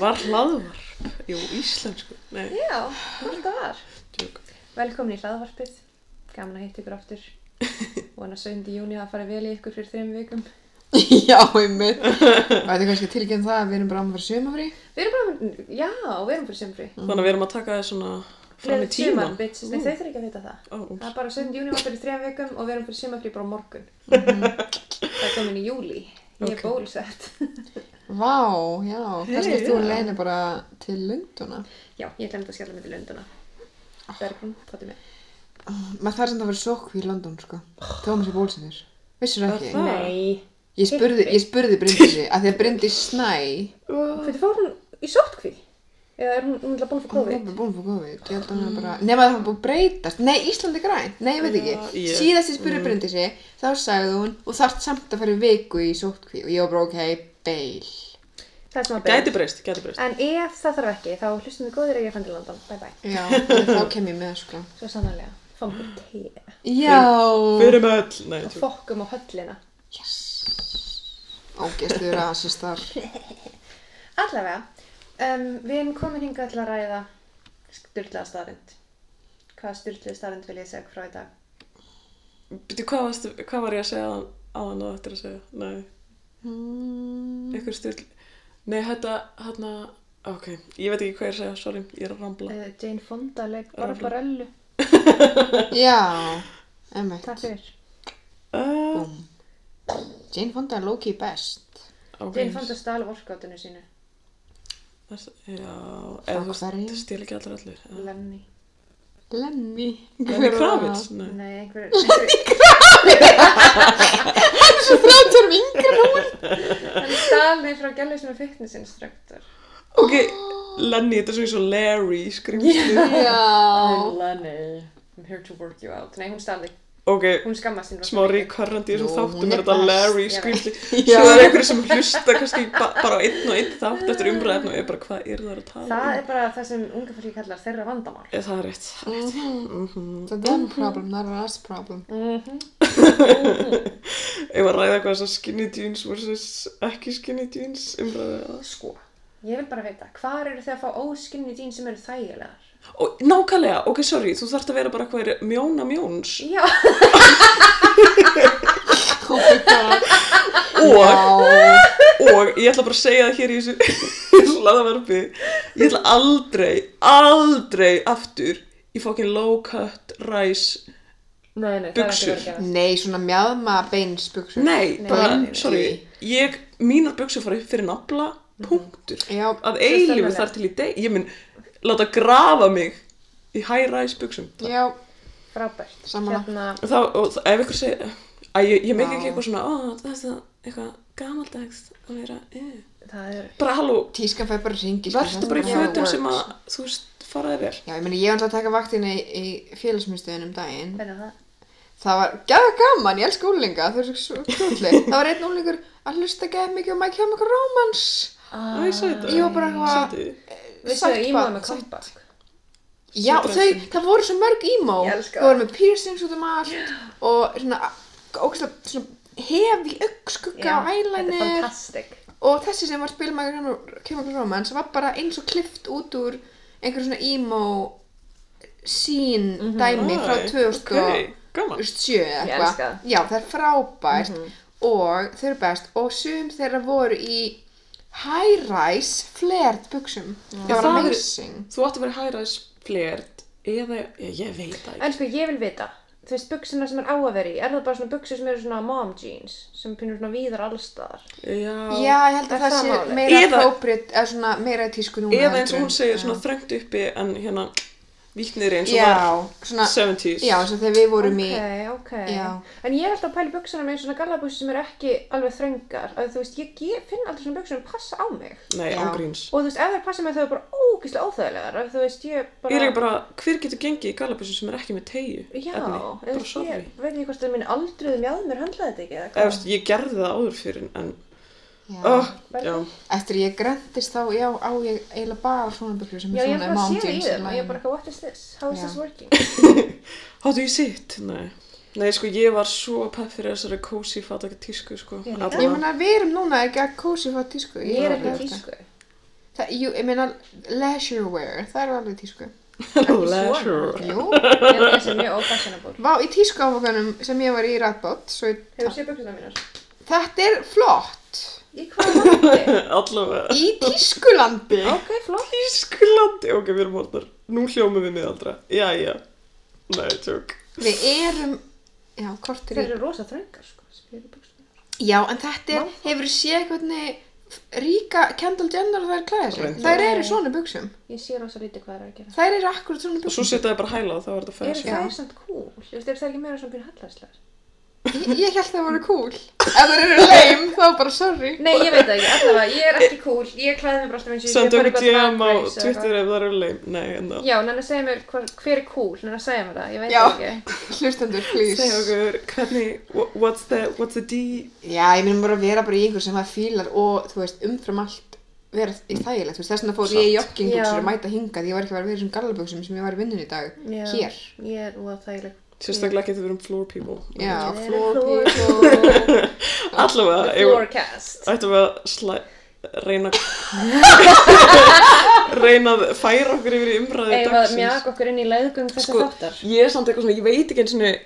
Var hlaðvarp? Jú, íslensku. Nei, Já, þetta var. tjók. Velkomin í hlaðvarpið. Gaman að hitta ykkur aftur. Vona 7. júni að fara vel í ykkur fyrir þreim vikum. Já, einmitt. Það er kannski tilgjönn það að við erum bara að fara sumafrí. Við erum bara, já, við erum fyrir sömfrí. Þannig að við erum að taka þér svona fram í tíman. Bitches, nei, þau þurfa ekki að vita það. Ó, Það er bara 7. júni var fyrir þreim vikum og við erum fyrir sömfrí bara á morgun. Það er komin í júli. Ég er Ok. bólusett. Vá, já. Kannski Hey, þú já. leynir bara til Lunduna. Já, ég glemt að skella mig til lönduna. Bergrún, hvað er með? Maður þarf samt að vera sokk í London, sko. Þú var mér sér bólsefir. Vissir Er ekki? það? Nei. Ég spurði, ég spurði Bryndisi, að því að Bryndis snæ, Hvernig fór hún í sótkví? Eða er hún, hún er búin fyrir hún er COVID? bara búin fyrir COVID, ég held að hún er bara, nema það hafa búin að breytast, nei Íslandi græn, nei ég veit ekki, Já, ég- Mm. síðast ég spurði Bryndisi, þá sagði hún, og þarft samt að fara í viku í sótkví, og ég var bara ok, beil. Það er sem að byrja. Gæti breyst, gæti breyst. En ef það þarf ekki, þá hlustum við góðir að ég fann til London. Bye bye. Já, þá kem ég með, sko. Svo sannarlega. Fáum við te Já, Fyrir með öll. Nei, og tjók. fokkum á höllina. yes. Ógeðslu rasistar. Allavega, um, við erum komin hingað til að ræða styrlaða staðrind. Hvaða styrlaða staðrind vil ég segja ykkur frá í dag? Býttu, hvað, varstu- hvað var ég að segja áðan- áðan og eftir að segja? Nei, Mm. eitthvað stil. Nei, þetta, hérna, ok. Ég veit ekki hvað ég er að segja, sorry, ég er að rambla. Uh, Jane Fonda leik Barbarellu. Já, emmett. Takk fyrir. Uh, Jane Fonda er Loki best. ok. Jane Fonda stal vorkátinu sínu. Þess- Já, eða þú hverju? veist, stil ekki allir allir. eða- Lenny. Lenny. Lenny Kravitz, nei. Nei, einhver... einhver Svo þrjáttur um yngra núna. hann stal mig frá gælusinu fitnessinstruktur. Ok, Lenny, þetta er svo eins og Larry skrýmstu. Já. Lenny. I'm here to work you out. Nei, hún stal þig. Ok, Hún skammast sín. smá recurrent í þessum Nú, þáttum hún er er þetta best. Larry Ég skrýmstu. Já. Svo er einhverju sem hlusta kannski ba bara á einn og einn þátt eftir umræðin og er bara hvað eru það að tala Það um? er bara það sem unga fólki kallar þeirra vandamál. Er... Það er rétt. það er rétt. It's a them problem, not a us problem. Ég var að ræða eitthvað þess að skinny jeans versus ekki skinny jeans umræðið það. Sko, ég vil bara vita, hvar eru þið að fá óskinni dýn sem eru þægilegar? Og nákvæmlega, ok, sorry, þú þarft að vera bara eitthvað er mjóna mjóns Já, Oh my god. og Já. og ég ætla bara að segja það hér í þessu hlaðavarpi ég ætla aldrei, aldrei aftur í fokkin low cut rice nei, nei, Buxur. það er ekki verið að gera. Nei, svona mjaðma beins buksur. nei, bara, nei, nei. sorry ég, mínar buksur fara upp fyrir nafla punktur, Já. að eilífu Sérstæðlega. þar til í deg ég mun láta grafa mig í high rise buksum Já. Frábært. Sammála. Hérna, og, þá, og þa- ef ykkur segir að ég, ég meik Vá. ekki eitthvað svona ó, það er það eitthvað gamaldags að vera, eh. það er, bara halló Tískan fær bara ringi. verður bara í Já, fötum works. sem að þú veist faraði vel Já, ég meni, ég var alltaf að taka vaktina í, í félagsmyndstöðin um daginn. hvernig er það? Það var gæða gaman, ég elska úlinga, þau eru svo krúllir. Það var einn úlingur að hlusta gæða mikið og maður kemur eitthvað rómans. Ah. Æ, sæta. Ég var bara eitthvað- Sæti. Vissu það Sætt ímáð barn, með sætt. kompakk? Já, Sætt þau, það voru svo mörg ímó. Ég elska Þau voru með piercings út um allt og svona, ógæslega, svona hefi augskugga á þetta er eyeliner. fantastic. Og þessi sem var spilmaður kemur eitthvað rómans var bara eins og klift út úr einhver svona ímó sín Mhm. dæmi frá Æ, 2000 og... ok, gaman. 7 eða Ég elska eitthvað það. Mhm. Já, það er frábært og þau eru best og sum þeirra voru í high-rise flared buksum það Það var er- amazing Þú átt að vera hæraðis flert eða, ég, ég veit það ekki. En sko, ég vil vita, þú veist, buksina sem er á að vera í, er það bara svona buksur sem eru svona mom jeans, sem pinnur svona víðar allstaðar? Já, Já, ég held Er að það það sé málið? meira Eða- appropriate eða svona meira í tísku núna eða heldur eins og en- hún segir svona þrengt uppi en hérna víknir eins og Já, var svona 70s. Já, eins og þegar við vorum í Ok, ok. Já. En ég er alltaf að pæla í buksuna með svona gallabúsi sem eru ekki alveg þröngar. Að þú veist, ég gef, finn aldrei svona buksuna passa á mig. Nei, Já. ángríns. Og þú veist, ef þær passa mig þau eru bara ógeðslega óþægilegar. Að þú veist, ég bara... Ég er ekki bara, hver getur gengið í galabusum sem er ekki með tegju? Já, efni? þú bara veist, sorry. ég veit ekki hvort það er mín aldruðum jáð mér höndlaði þetta ekki eða Eða, veist, ég gerði það áður fyrir en, já. oh, já, Verður- Eftir ég græntist þá, já, á ég eiginlega bara svona buksur sem Já, er ég er bara svona að mom sé það í jeans þeim og ég line. er bara eitthvað, what is this? How is Já. this working? hátu ég sitt? Nei. Nei, sko, ég var svo pepp fyrir þessari kósi fataka tísku, sko. Ég líka. Alla- Ég meina, við erum núna ekki að kósi fá tísku Ég er alveg ekki í þetta. tísku. Það, jú, ég meina, leisure wear, það eru alveg í tísku. Leisure Jú, Ég held að það sé mjög ófashionable. vá, í tísku áfokanum sem ég var í ræðbót, svo ég... Hefur séð buksuna mínar? Þetta er flott. Í hvað landi? Allavega Í tískulandi. ok, flott. Ískulandi, ok, við erum hortar Nú hljómum við miðaldra Jæja, nei, tjók Við erum, já, kortir Þeir í. eru rosa þröngar, sko. sem eru buxurnar. Já, en þetta er, hefur séð hvernig ríka Kendall Jenner þær klæða sig. Reyndar. Þær eru svona buksum. Ég sé rosa lítið hvað það er að gera. Þær eru akkurat svona Og svo buksum. setja ég bara hæla og þá er þetta Eru fashion Já. þær samt cool? Þú veist, eru þær ekki meira svona býr hallæslegar? Ég, ég held það voru cool. Ef þær eru lame, þá bara sorry. Nei, ég veit það ekki, allavega, ég er ekki cool, ég klæði mig bara alltaf eins og ég Sendu okkur DM á drag race eða eitthvað. Twitter ef það eru leim Nei, en það Já, nenni að segja mér hver, hver er cool, nenni að segja mér það, ég veit Já. það ekki. Hlustendur, please. Segja okkur, hvernig, wha- what's the, what's the D? Já, ég myndi bara að vera bara í einhver sem það fílar og, þú veist, umfram allt vera í þægilegt, þú veist, þess vegna fór ég í Já. joggingbuksur að mæta hingað, ég var ekki að vera verið í þessum gallabuksum sem ég var í vinnun í dag, Já. hér Ég er úða þægileg. Sérstaklega ekki þegar við erum floor people Já, Við floor erum floor people Allavega, The eigum- forecast. ættum við að slæ... reyna reyna að færa okkur yfir í umræðu Eigum að dagsins mjaka okkur inn í leiðgöng þessa sko, þáttar. ég er samt eitthvað svona, ég veit ekki eins og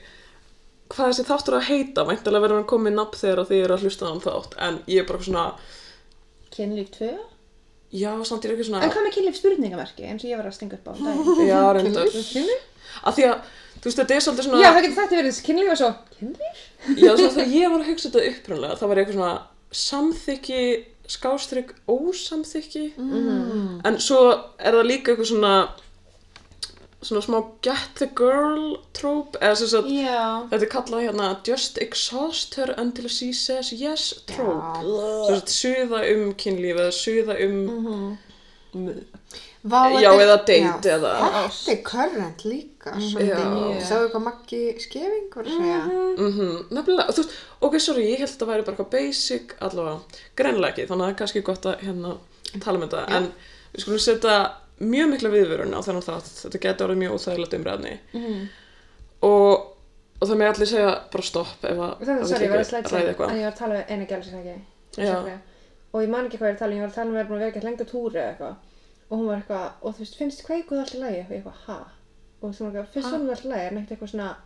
hvað þessi þáttur á að heita væntalega verður hann komið nafn þegar að þið eru að hlusta á hann þátt en ég er bara eitthvað svona, Kynlíf 2? já, samt ég er En eitthvað svona hvað með kynlíf spurningamarki, eins og ég var að stinga upp á um daginn? já, reyndar Kynlíf? að því að, þú veist, þetta er svolítið svona Já, það getur þetta verið kynlíf og svo, kynlíf? já, svo þegar ég var að hugsa þetta upprunlega þá var ég eitthvað svona samþykki skástrygg ósamþykki en svo er það líka eitthvað svona svona smá get the girl trope eða sem sagt Já. Þetta er kallað hérna Just exhaust her until she says yes trope. Svo þetta suða um kynlíf eða suða um Vá, já þetta er- eða date eða Þetta er current líka Mhm. Já. svolítið. Sáðu hvað Maggi Skeving var að segja Mhm. mm nefnilega, þú veist, ok, sorry, ég held að það væri bara eitthvað basic allavega, greinlega ekki, þannig að það er kannski gott að hérna tala um þetta, en við skulum setja mjög mikla viðvörun á þennan þátt, þetta getur orðið mjög óþægilegt umræðni Mhm. og, og það með allir segja bara stopp ef að Þannig, að sorry, vill ég var að ekki slæta ræða sig, eitthvað. en ég var að tala við eina gæl sem ekki, Já. og ég man ekki hvað ég var að tala, um, ég var að tala um að vera búin að vera eitthvað lengt á túri eða eitthvað, og hún var eitthvað, og þú veist, finnst kveikuð allt í lagi, og ég eitthvað, ha? Og þú veist, hún var eitthvað, finnst honum allt í lagi, en ekkert eitthvað svona,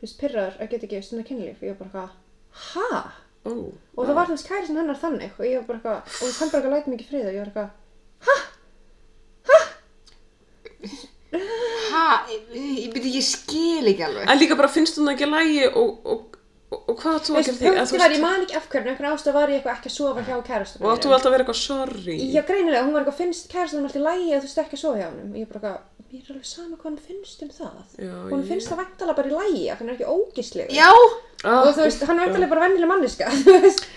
þú veist, pyrraður að geta ekki svona kynlíf, og ég var bara eitthvað, ha? Ó, Og það var þú veist kæri sem hennar þannig, og ég var bara eitthvað, og þú veist, hann bara eitthvað læti mikið frið, og ég var eitthvað, Ha, ég, ég byrja ég skil ekki alveg En líka bara finnst hún það ekki lægi og, og, og, og hvað átt þú að veist, gera því? Eða, þú punktið var, ég veist, man ekki af hverju, en einhvern ástæðu var ég eitthvað ekki að sofa hjá kærastunum. og áttu alltaf að vera eitthvað sorry? Já, greinilega, hún var eitthvað, finnst kærastunum alltaf lægi að þú veist ekki að sofa hjá honum? Og ég bara eitthvað, mér er alveg sama hvað hann finnst um það. Já, hún ég- finnst það væntalega bara í lægi, af því hann er ekki ógislega. Já, ah, Og þú veist, hann er væntalega bara vennileg manniska, þú veist,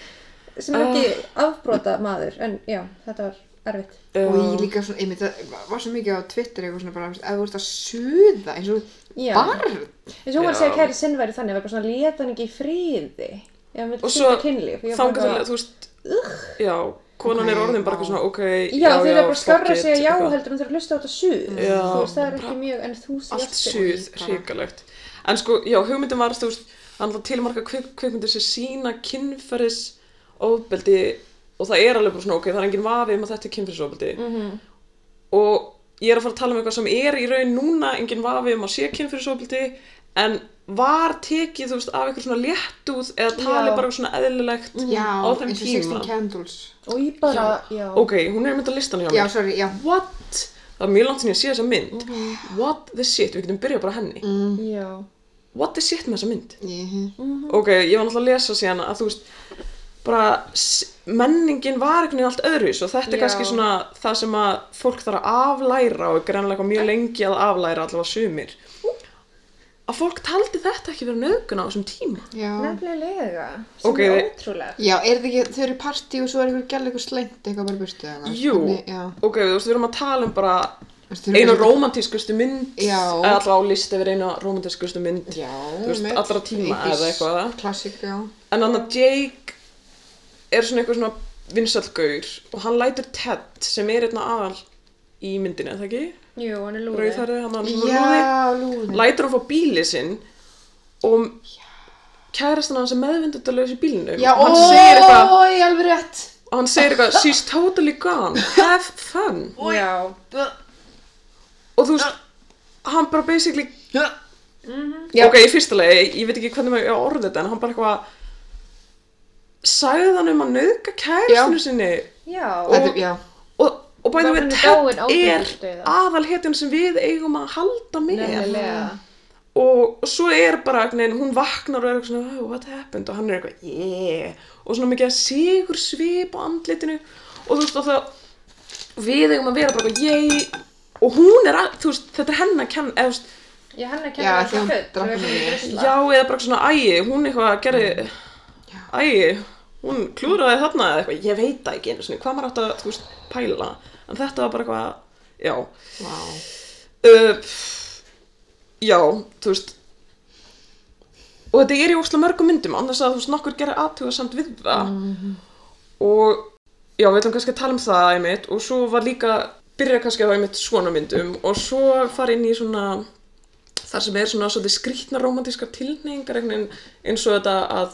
sem er ekki afbrota maður. En já, þetta var erfitt. já. og ég líka svona, einmitt, það var svo mikið á Twitter eitthvað svona bara, ef þú ert að suða eins og Já. barn Eins og hún var að segja Já. kæri sinn væri þannig, var bara svona, leta hann ekki í fríði. Já, hann vil og svo stunda kynlíf. Ég var bara þangar til eitthvað- þú veist, já, konan er orðin bara eitthvað svona, ok, Já, þeir eru bara fuck skarra að it, segja já eitthvað. heldur en þeir eru að hlusta á þetta suð. Já, Þú veist, það er bara ekki mjög enthusiastic. Allt suð, hrikalegt. En sko, já, hugmyndin var, þú veist, hann ætla til marga kvik, kvikmyndir sem sína kynferðis ofbeldi og það er alveg bara svona, ok, það er engin vafi um að þetta er kynferðis ofbeldi. -hmm. Mhm. Og ég er að fara að tala um eitthvað sem er í raun núna engin vafi um að sé kynferðis ofbeldi, en var tekið, þú veist, af eitthvað svona léttúð eða talið Já. Mhm. bara svona eðlilegt Já, á þeim eins og 16 tíma. candles Og ég bara, já. Ok, hún er mynd að listan hjá mér. Já, sorry, já What? Það er mjög langt sem ég sé þessa mynd. What the shit, við getum byrjað bara á henni. Mm. Já. What the shit með þessa mynd? Mhm. ok, ég var náttúrulega að lesa síðan að þú veist bara s- menningin var einhvern veginn allt öðruvis og þetta er Já. kannski svona það sem að fólk þarf að aflæra og er greinlega eitthvað mjög lengi að aflæra allavega sumir að fólk taldi þetta ekki vera nöðgun á þessum tíma Já, Nefnilega, sem Ok, er þi- ótrúlegt. já er þetta ekki, þau eru í partí og svo er einhver gæla eitthvað slengt eitthvað bara í burtu eða eitthvað Jú, Hvernig- Já, ok, þú veist, við erum að tala um bara Veistu, þau eru einu kannski- romantískustu mynd Já. eða allavega á listi yfir einu romantískustu mynd Já, þú veist, einmitt. allra tíma Einhvers eða eitthvað Klassik, já en hann að Jake er svona eitthvað svona vinsælgaur og hann lætur Ted sem er einna aðal í myndinni, er það ekki? Jú, hann er lúði. Rauðhærði, hann að Já, lúði lætur hann fá bíli sinn og kærastan hans er meðvindundalöðis í bílinu Já, Oh! og hann segir eitthvað ói, alveg rétt og hann segir eitthvað she's totally gone, have fun Já, og þú veist, hann bara basically Já. ok, í fyrsta lagi, ég veit ekki hvernig maður á orðið þetta en hann bara eitthvað sagði hann um að nöðka kæristinu sinni já. Og- Þetta er- já. og, og bæði Var við hann dáinn Ted áður en hún er dauði? aðalhetjan sem við eigum að halda með Nefnilega. og svo er bara nein, hún vaknar og er eitthvað svona oh, what happened og hann er eitthvað yeah og svona mikið að sigur svip á andlitinu og þú veist og það við eigum að vera bara eitthvað yeah og hún er að, þú veist, þetta er henn að kenna eða þú veist, Já, hann er kennið Já, því þessu hún full. drap Það er mig. svona já drusla. eða bara svona ægi, hún eitthvað gerði ægi, hún klúraði þarna eða eitthvað, ég veit það ekki einu svona hvað maður átt að, þú veist, pæla en þetta var bara eitthvað, já Vá. uh, já, þú veist og þetta er í ósla mörgum myndum annars að þú veist nokkur gerir aðtuga samt við það Mhm. og já, við ætlum kannski að tala um það einmitt og svo var líka, byrja kannski á einmitt svona myndum og svo fara inn í svona þar sem er svona svolítið skrýtna romantískar tilneyingar einhvern veginn, eins og þetta að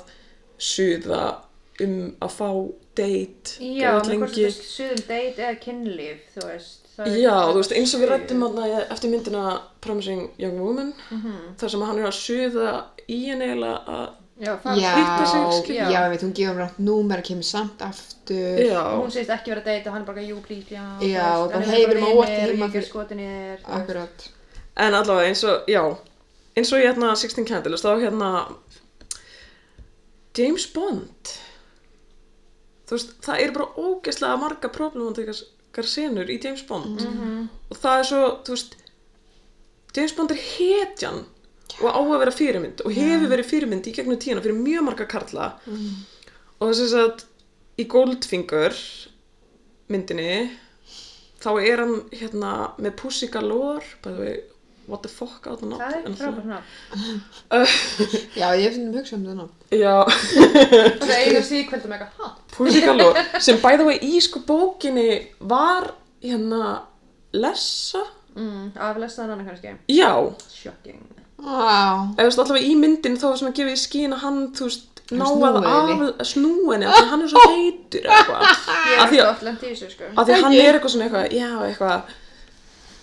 suða um að fá date Já, geðveikt með hvort lengi. þetta suðum date eða kynlíf, þú veist. það er- Já, þú veist, eins og við rættum þarna eftir myndina Promising Young Woman Mhm. þar sem hann er að suða í henni eiginlega að, Já, það- Já, hitta sig, já, skilja. ég veit, hún gefur mér átt númer og kemur samt aftur. já, Hún segist ekki vera að deyta, hann bara, jú, plís, já. þú Já, veist, og bara, hann er hey, við erum bara óvart vinir, heima ég er fyrir- skotin í þér, þú veist. Akkurat. en allavega eins og, já eins og hérna 16 Candles, þá hérna James Bond þú veist, það eru bara ógeðslega marga problematikar senur í James Bond Mhm. og það er svo, þú veist James Bond er hetjan og á að vera fyrirmynd og hefur verið fyrirmynd í gegnum tíuna fyrir mjög marga karla Mhm. og þess að í Goldfinger myndinni þá er hann hérna með Pussy Galore by the way, what the fuck out of not Það er frábært nafn. Já, ég hef stundum hugsað um það nú. Já, Og það eigin síkveldum eitthvað, ha? Pussy Galore sem by the way í sko bókinni var hérna lessa Mm, aflestaðan annað kannski. Já, Shocking. Vá. eða þú veist allavega í myndin þá var svona gefið í skín að hann, þú veist, ná að snúi henni. af- snúi henni, af því að hann er svo heitur eða eitthvað, Ég er Af því að- ekki oft lent í þessu, sko. af því að hann Ekki. er eitthvað svona eitthvað, já, eitthvað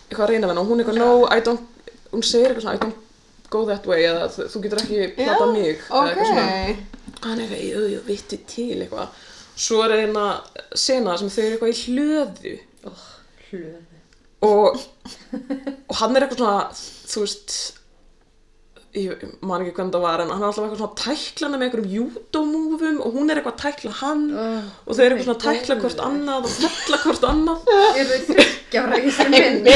eitthvað að reyna við hann og hún er eitthvað, no, I don't hún segir eitthvað svona, I don't go that way eða þú þú getur ekki plata Já, mig eða Ok. eitthvað svona. hann er eitthvað, jú, jú, vittu til eitthvað svo er eina sena sem þau eru eitthvað í hlöðu Oh, hlöðu. og, og hann er eitthvað svona þú veist ég man ekki hvernig það var en hann er alltaf eitthvað svona að tækla hann með einhverjum júdómúfum og hún er eitthvað að tækla hann og þau eru eitthvað svona að tækla hvort annað og falla hvort annað Eru þau þryggja ára í þessari mynd?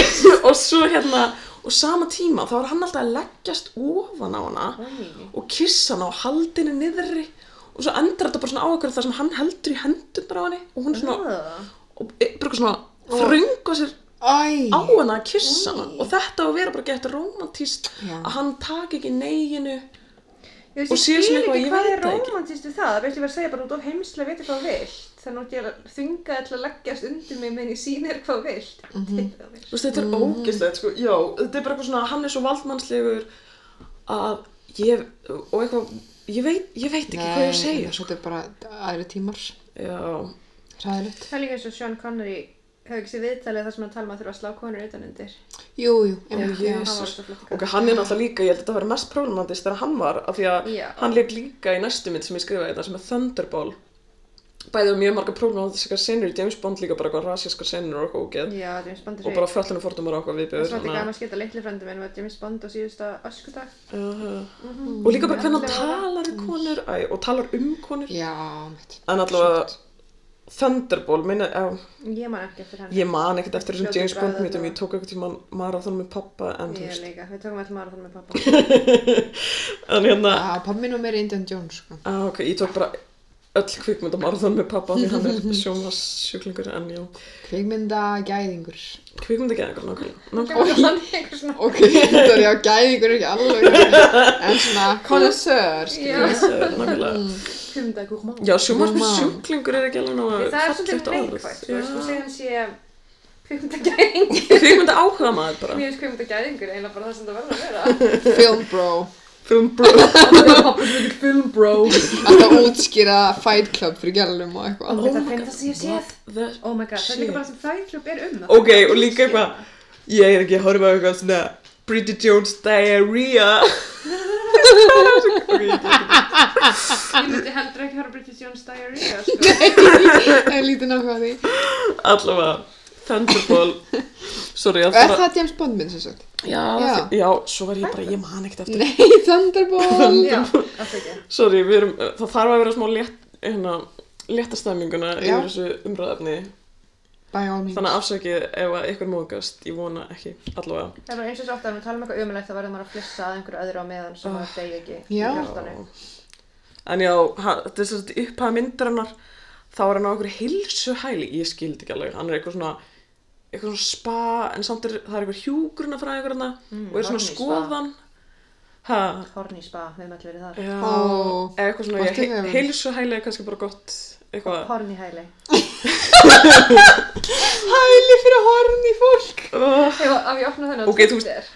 og svo hérna og sama tíma þá er hann alltaf að leggjast ofan á hana Æ. og kissa hana og halda henni niðri og svo endar þetta bara svona á okkur þar sem hann heldur í hendunar á henni og hún er svona Ah. og e- bara eitthvað svona þrönga sér Æ. á hana að kissa hana og þetta á að vera bara gett romantíst Já. að hann taki ekki neginu Ég Og veist, síðan ég skil svona eitthvað, ekki ég hvað veit er það ekki. romantist við það, veistu ég var að segja bara út of heimslega veitir hvað þú vilt þannig að ég að þunga þér til að leggjast undir mig meðan ég sýnir hvað þú vilt mm Mhm. -hmm. Þú veist, þetta er mm. ógeðslegt, sko, já, þetta er bara eitthvað svona, hann er svo valdmannslegur að ég, og eitthvað, ég veit, ég veit ekki hvað ég á að segja, sko. Þetta er bara aðri tímar. Já, Ræðilegt. Það er líka eins og Sean Connery hefur ekki sér viðtalið þar sem hann tala um að þurfa að slá konur utan undir Jú, jú. Já, einmitt, já. Jesus. hann var svo flott í ok, kall. hann er náttúrulega líka, ég held að þetta var mest problematist þegar hann var, af því að Já. hann leik líka í næstu mynd sem ég skrifaði þetta, sem er Thunderball, bæðið mjög marga problematiska senur, í James Bond líka bara eitthvað rasíska senur og eitthvað ógeð, Já, James Bond er og bara föllinu fórtumar og Það er eitthvað viðbjöður, svolítið gaman að skita litli frændi minn var James Bond á síðusta öskudag uh, Mhm. og líka bara hvernig hann Ellefu ára. talar við konur, æ, og talar um konur, Já, mitt. en allavega, Thunderball, minna, já, Ég man ekki eftir hann Ég man ekkert eftir þessum Fljótur James bragð Bond myndum, allavega. ég tók eitthvað tíma marathon með pappa en þú Ég veist. líka, við tókum alltaf marathon með pappa En hérna, Já, pabbi minn og mér er Indian Jones, sko. á, ok, ég tók bara öll kvikmynda marathon með pappa því hann er sjómasjúklingur en já, Kvikmynda gæðingur. kvikmynda ekki eitthvað nákvæmlega. Það nákvæmlega. var hann einhver svona Ok, þetta er já, gæðingur er ekki alveg. En svona, connoisseur, Já. skiljum. Yes, eh, nákvæmlega. Mm. Humdagur mann Já, Guðmann. sjómasjúklingur er ekki alveg ná að það er svolítið neikvægt þú veist, þú segir hann sé kvikmyndagæðingur Kvikmynda áhuga maður bara. mér finnst kvikmyndagæðingur eiginlega bara það sem það verður að vera Film bro. Film bro Pappi sem heitir film bro Alltaf útskýra Fight Club fyrir gælum og eitthvað. Þetta er finnast sem ég séð the... Oh my god, það er Shit. líka bara sem Fight Club er um það Ok, og líka eitthvað Ég er ekki að horfa á eitthvað svona Bridget Jones Diarrhea Ok, ég get- Ég myndi heldur ekki horfa á British Jones Diarrhea sko. Nei, lítið nákvæða því. Allavega Thunderball Sorry, að Er fara það James Bond minn sem sagt? Já, Já. þi- já, svo var ég bara, ég man ekkert eftir Nei, Thunderbolt. Já, alltaf ekki Sorry, við erum, það þarf að vera smá létt, hérna, létta stemminguna Já. yfir þessu umræðafni By all means. Þannig að afsakið ef að ykkur móðgast, ég vona ekki allavega Það er bara eins og svo ofta að við tala um eitthvað umlægt þá verður maður að flissa að einhverju öðru á meðan sem Ah. maður degi ekki í Já. hjartanu. En já, ha- þetta er svolítið upphæða myndir hennar þá er hann á einhverju hilsu hæli ég skildi ekki alveg, hann er eitthvað svona eitthvað svona spa, en samt er það er einhver hjúgruna frá einhver hann Mm, og er svona Árný spa. skoðan ha, Horni í spa, við höfum allir verið þar. já, Ó, eða eitthvað svona gott í þeim. hilsu hæli er kannski bara gott eitthvað Horni hæli. Hæli fyrir horn í fólk. oh. Hefur, af ég opna þennan Ok, þú veist- Twitter.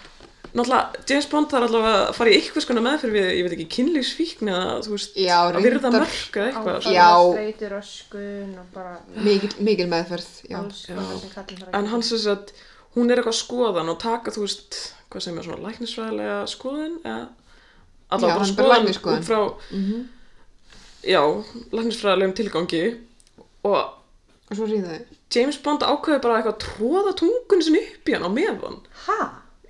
Náttúrulega, James Bond þarf allavega að fara í eitthvað skona meðferð við, ég veit ekki, kynlífsfíkn eða, þú veist, Já, að virða reyndar- mörg eða eitthvað. Áfall, Já. Streitur, öskun og bara Mikil, mikil meðferð, já. alls konar sem kallin þarf að En hann sem sagt, hún er eitthvað að skoðan og taka, þú veist, hvað sem er svona læknisfræðilega skoðun eða Já, allavega bara hann bara skoðan læknisskoðun. Mhm. út frá, já, læknisfræðilegum tilgangi og Og svo ríða þau. James Bond ákveður bara eitthvað að tróða tungun sinni upp í hann á meðan. Hæ?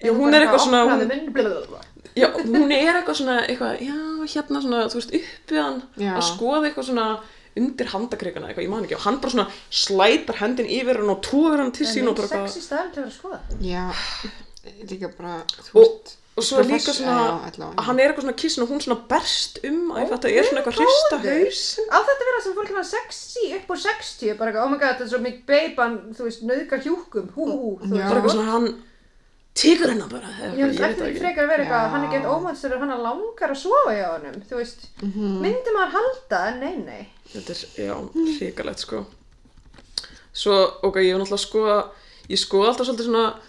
Já, hún er eitthvað svona- Hún hún- er minnblöðuð. Já, hún er eitthvað svona, eitthvað, já, hérna svona, þú veist, uppið hann Já. að skoða eitthvað svona undir handakrikana, eitthvað, ég man ekki, og hann bara svona slætar hendin yfir hann og tóður hann til sín og bara Sexy eitthvað, staðum til að vera að skoða. Já, líka bara, þú og, veist. og svo er líka profess- svona, já, allavega, já. að Oh hann er eitthvað svona kissin og hún svona berst um, að þetta er svona eitthvað hrista góður. haus. Á þetta vera sem fólk er að sexy upp á 60, bara eitthvað, oh my god, þetta er svo mikið beiban, þú veist, nöðgar hjúkum, hú, hú, þú Já. Bara eitthvað veist. svona, hann tekur hennar bara, Ég eitthvað, veist ég veit eftir það því ekki. frekar að vera eitthvað, Já. hann er gett ómænstur og hann langar að sofa hjá honum, þú veist, Mhm. myndi maður halda, en nei, nei. Þetta er, já, hrikalegt sko. Svo, ok, ég hef náttúrulega að skoða, ég skoða alltaf svolítið svona,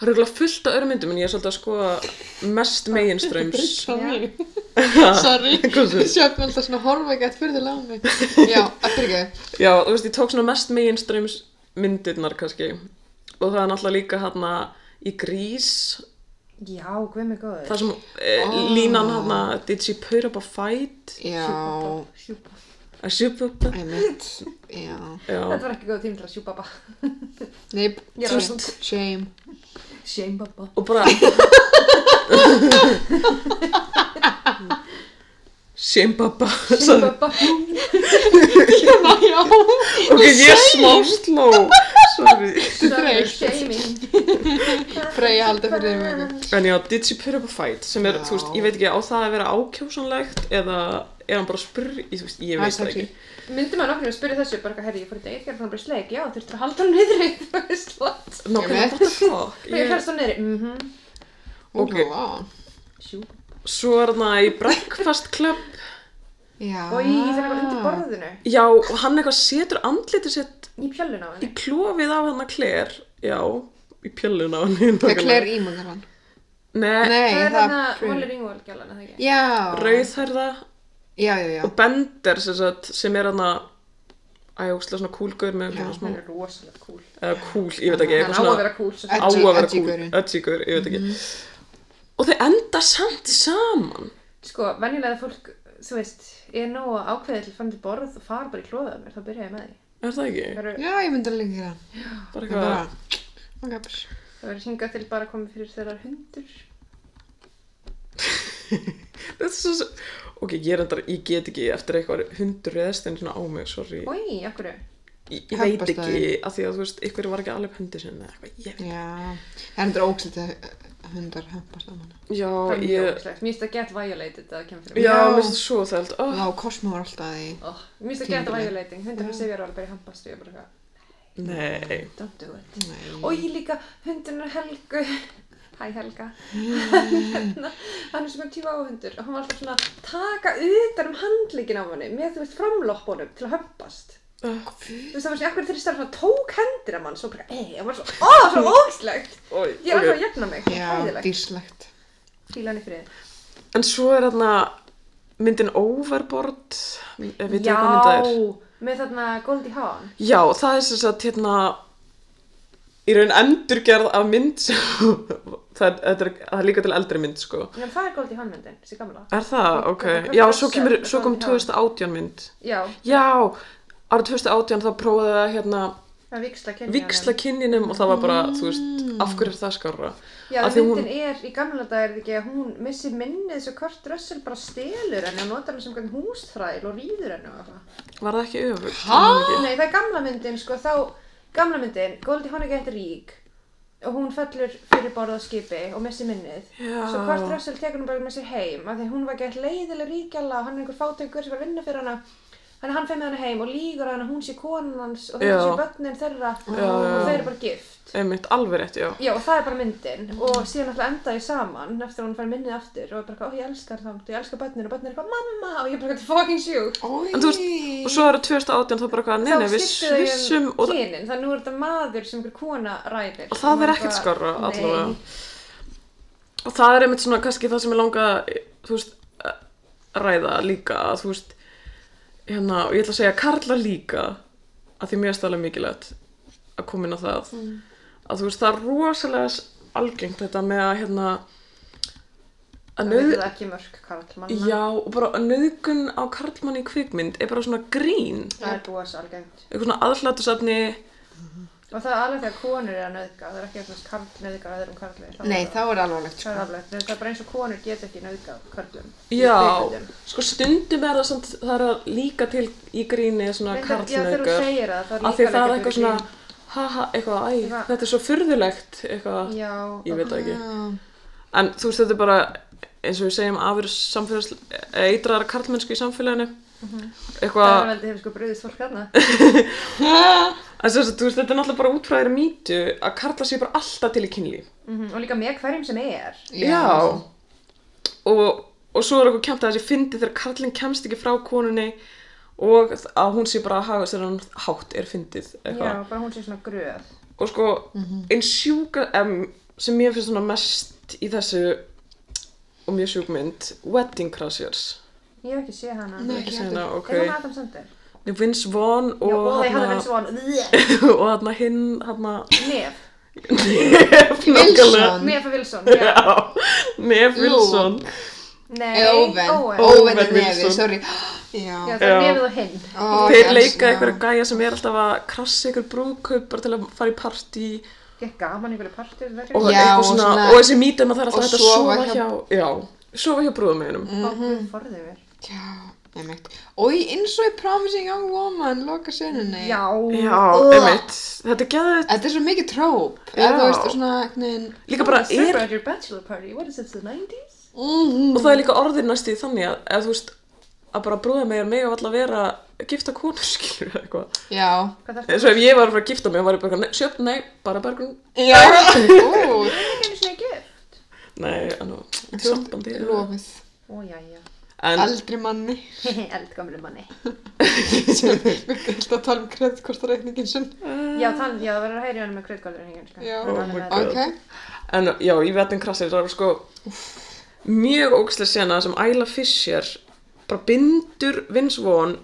það er eiginlega fullt af öðrum myndum en ég er svolítið að skoða mest meginströms. Sorry, sorry, sjöfnum alltaf svona horfa ekki að fyrir þau mig. Já, eftir ekki, já, þú veist, ég tók svona mest meginströms myndirnar kannski og það er náttúrulega líka hérna í Grís, Já, hvað með góður? það sem eh, Ah. línan hérna, did she put up a fight? já, Sjúpa. A soup up a... einmitt, já, Já, Þetta var ekki góð tími til að sjúpa bara. neip, Já. just, shame, Shame babba. og bara... Shimbaba, Shame sagði babba. hérna, já, Ok, ég smá sló Sorry þreytt. Shaming. Freyja halda fyrir þeim eitthvað. En já, did she put up a fight sem er, Já. þú veist, ég veit ekki á það að vera ákjósanlegt eða er hann bara að spyrja, ég, þú veist, ég veit það Exactly. ekki Myndi maður nokkur að spyrja þessu, bara, herri, ég fór í date, gerði hann bara í sleik, já, þurftur að halda hann niðri, þú veist, what? Nákvæmlega, Ég what the fuck Ég ég, færst hann niðri, mhm, Ok. Ó, vá. sjúpa. Svo er hann í Breakfast Club Já. Og í það er eitthvað Ah. undir borðinu, Já, og hann eitthvað setur andlitið sitt í pjöllun á í henni. klófið á hann að Claire Já, í pjöllun á henni Það nákvæmlega. klær ímöngar hann. Nei, Nei, Það er það hann er að Valir pretty. Ringvald gælan, það ekki? Já. rauðherða Já, já, já. og Bender sem, sagt, sem er hann að Æ, óslega svona kúlgaur með Já. svona smá, Hann er rosalega cool. eða kúl, ég veit ekki, Hann á eitthvað að svona vera cool, svo á Edgy- að vera edgy cool, gaurinn. edgy gaur, ég veit ekki og þau enda samt saman Sko, venjulega fólk, þú veist, er nóg að ákveða til að fara til borð og fara bara í klóðað mér, þá byrja ég með því. er það ekki? Það verður- Já, ég myndi alveg gera. það. bara Það er bara, eitthvað, ok, bara. það verður hingað til bara komið fyrir þeirra hundur. þetta er svo svo ok, ég er endar, ég get ekki eftir eitthvað hundur reðstinn svona á mig, sorry Úi, okkur. ég, ég veit ekki, Hjálparstaðin. af því að þú veist, ykkur var ekki alveg hundi sinni eða eitthvað, ég Já, það er endur ógslit að hundar hömpast á manna. já, Það er mjög ég, ógislegt. Mér finnst að get violated að kemur fyrir já, Já. mér finnst það svo þælt oh, Vá, Cosmo var alltaf í. Oh, mér finnst að get Tímabilið. violating. Hundur fyrir sig verður alveg bara í hampast og ég er bara eitthvað, nei, don't do it. Nei. Og ég líka, hundurinn er Helgu. Hæ Helga. hann er svona tíu áhundur og hann var alltaf svona að taka utan um handlíkin á henni með þú veist framloppunum til að hömpast. Þú veist, það var svona, akkur þeirri stærlega tók hendir að mann, svo bara, ei, það var svo, ó, það var svo ógslegt. oi, Ég er alltaf ok að jafna mig, Já, hæðilegt. dýrslegt. Fíla hann í friði. en svo er þarna myndin Overboard eh, ef við tekum mynd það er með þarna Goldie Hawn já, það er sem sagt hérna í raun endurgerð af mynd sem það, er, þetta er, það er líka til eldri mynd sko en það er Goldie Hawn myndin, þessi gamla er það, ok, já, svo, kemur, svo kom 2018 mynd já, já, árið 2018 þá prófaði það hérna það er viksla kynni viksla kynninum og það var bara, þú veist, af hverju er það skarra já, af því myndin hún- er í gamla dag er það ekki að hún missir minnið svo Kurt Russell bara stelur henni og notar henni sem hvernig húsþræl og rýður henni og eitthvað var það ekki öfugt? Ha? Ég man ekki. Nei, það er gamla myndin, sko, þá gamla myndin, Goldie Hawn er gett rík og hún fellur fyrir borð á skipi og missir minnið Já. svo Kurt Russell tekur hún bara með sér heim af því hún var gett leiðileg ríkjala og hann er einhver fátækur sem var að vinna fyrir hana þannig að hann fer með hana heim og lígur að hana, hún sé konan hans og þetta Já. sé börnin þeirra já, og já. þau eru bara gift einmitt, alveg rétt, já Já, og það er bara myndin og síðan alltaf enda ég saman eftir að hún fær minnið aftur og er bara eitthvað, ó ég elskar það, ég elskar börnin og börnin er eitthvað mamma og ég er bara eitthvað fucking sjúk en þú veist, og svo eru 2018 þá um bara eitthvað, nei, nei, við svissum og, um kynin, þannig að nú er þetta maður sem einhver kona ræðir og það er ekkert skarra allavega og það er einmitt svona kannski það sem ég langa þú veist, að ræða líka að þú veist, hérna og ég ætla að segja karla líka að því mér er stæðlega mikilvægt að koma inn á það að þú veist, það er rosalega s- algengt þetta með að hérna að það er nöð ekki mörg karlmanna já, og bara nöðgun á karlmann í kvikmynd er bara svona grín það er búið svo algengt eitthvað svona aðhlatusafni og það er alveg þegar konur er að nöðga það er ekki eitthvað karl nöðga öðrum karli það Nei, er þá bara- er alvarlegt það sko. er alveg, það er bara eins og konur get ekki nöðga karlum í já, kvikmyndum. sko stundum er það samt, það er að líka til í gríni svona Reyndar- já, þegar þú karlnauðgar segir það, það er af því líka það er alveg eitthvað fyrir svona haha, eitthvað, æ, Eitthvað- þetta er svo furðulegt eitthvað, já, ég veit það ekki Já. en þú veist þetta er bara eins og við segjum afur samfélags eh, eitraðar karlmennsku í samfélaginu Mhm. það eitthvað, er veldið hefur sko bröðist fólk hana en sem sagt, þú veist þetta er náttúrulega bara útfræðir mýtu að karla sé bara alltaf til í kynlíf og líka með hverjum sem er Já og, og svo er eitthvað kemta að þessi fyndi þegar karlinn kemst ekki frá konunni og að hún sé bara að haga sér hann hátt er fyndið já, eitthvað bara hún sé svona gröð og sko einn sjúka em, sem mér finnst svona mest í þessu og mjög sjúkmynd Wedding Crashers ég hef ekki séð hana Nei, ekki ekki segna, heldur. ok er hún Adam Sandler? Vince Vaughn já, og og það er hann þarna- svona og þarna hinn þarna nef Nef nákvæmlega. Wilson. Nef Wilson, já. Já, Nef Wilson Nei, Eða Óven Owen. Óven er Owen nefið, Wilson. sorry Já, Já það er Já. nefið og hinn. Ó, Þeir yes, leika já. einhverja gæja sem er alltaf að krassa einhver brúðkaup bara til að fara í partí Gekk gaman í einhverju partur, það er og, ekki. Já, eitthvað og svona, svona- og þessi mítið maður þarf og alltaf að sofa sofa hjá- hjá, já, sofa hjá brúðumeginum Bákuð forðið mér. Já, einmitt Og í eins og í Promising Young Woman loka senunni Já. já, Ugh. einmitt, þetta er geðið Þetta er svo mikið tróp Já. Eða þú veist þú svona neginn, líka bara er, Super at your bachelor party, what is it, the 90s? mm, og það er líka orðið næstu í þannig að, eða þú veist að bara brúðumegin mega alltaf vera gifta konur, skilur við eitthvað Já Hvað þarf það? eins og ef ég var að fara að gifta mig, var ég bara eitthvað, nei, sjöfn, nei, bara bergrun, Já Ó, Það er ekki einu sinni gift. nei, anú, sambandi Lofið Ó, já, já. en, Aldri manni Eldgamlu manni. sem vildi alltaf tala um kreðkortareikningin sinn Já, þann, já, það verður að heyri hann með kreutgáldur hengin, sko. Já. Hann er Oh my með- God. Ok en já, ég veit en krassir, það eru sko mjög ógstlega sena sem Æla Fischer bara bindur Vince Vaughn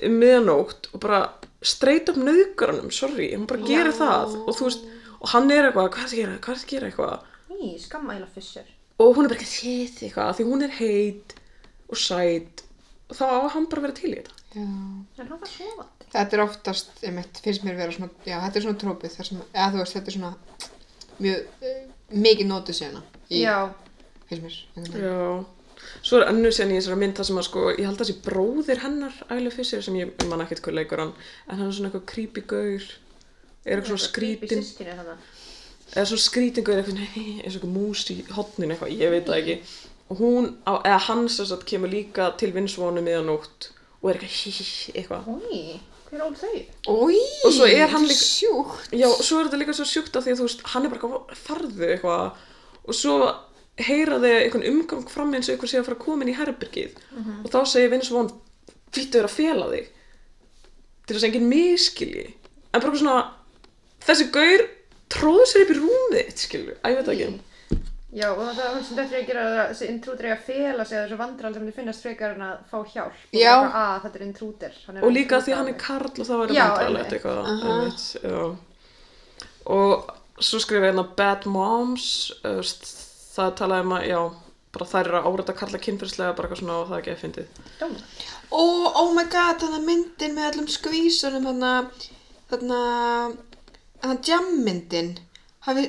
um miðanótt og bara streit upp nöðgaranum, sorry, hún bara gerir það og þú veist, og hann er eitthvað, hvað er það að gera, hvað er það að gera eitthvað Í, skamma Ayla Fisher. og hún er bara eitthvað þið eitthvað, af því hún er heit og sæt og þá á hann bara að vera til í þetta Já En hann var svovandi. Þetta er oftast, einmitt, finnst mér vera svona, já, þetta er svona trópið þar sem, eða þú veist, þetta er svona mjög, eh, mikið nótu sérna í, Já. finnst mér. einhvern veginn. Já, svo er önnur sen í þessari mynd það sem að sko, ég held að þessi bróðir hennar Æla Fischer sem ég man ekkert hvað leikur hann en hann er svona eitthvað creepy gaur er eitthvað svona skrítin Sýskinni þannig. eða svona skrýtingur eitthvað, nei, eins og eitthvað mús í hotninu eitthvað, ég veit það ekki og hún, á, eða hans þess að kemur líka til vinsvonu miðanótt og er eitthvað hí, hí, hí, eitthvað Í, hver ól þau? Új, Og svo er hann líka- Sjúkt. já, og svo er þetta líka svo sjúkt af því að þú veist, hann er bara eitthvað farðu eitthvað og svo heyra þau einhvern umgang fram eins og einhver sé að fara að koma inn í herbergið og þá segir vinsvon fýttu er að fela þig til þess að enginn miskilji en bara eitthvað svona, þessi gaur tróðu sér upp í rúmið þitt, skilju, að ég veit það ekki Já, og það er hún sem dættur að gera það þessi intrúder er að fela sig að þessu vandrar sem þið finnast frekar en að fá hjálp. Og Já. bara, Að þetta er intrúder. og líka því hann er karl og það væri Já, vandralegt einmitt. eitthvað Aha. einmitt, já. og svo skrifa ég hérna bad moms eh, þú veist, það talaði um að já, bara þær eru að áreita karla kynfyrslega bara eitthvað svona og það er ekki að fyndið Dómar. Ó, oh my god, þannig myndin með allum skvísunum, þannig þannig að þannig jammyndin hafi,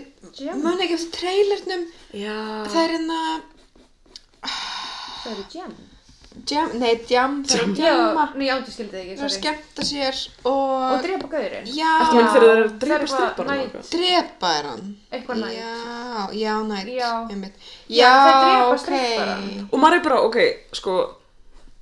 Jam? mun ekki eftir trailernum Ah. já, það er hérna Það eru jam. jam, nei, jam, það er jamma Já, já, þú skildið ekki, það er að sorry. skemmta sér og, Og drepa gaurinn. já, eftir minn þegar þeir eru Það að er dreipa bara styrpar næ- drepa er hann Eitthvað nægt. já, já, nætt Já. einmitt. Já, já, þær drepa ok stripparann. og maður er bara, ok, sko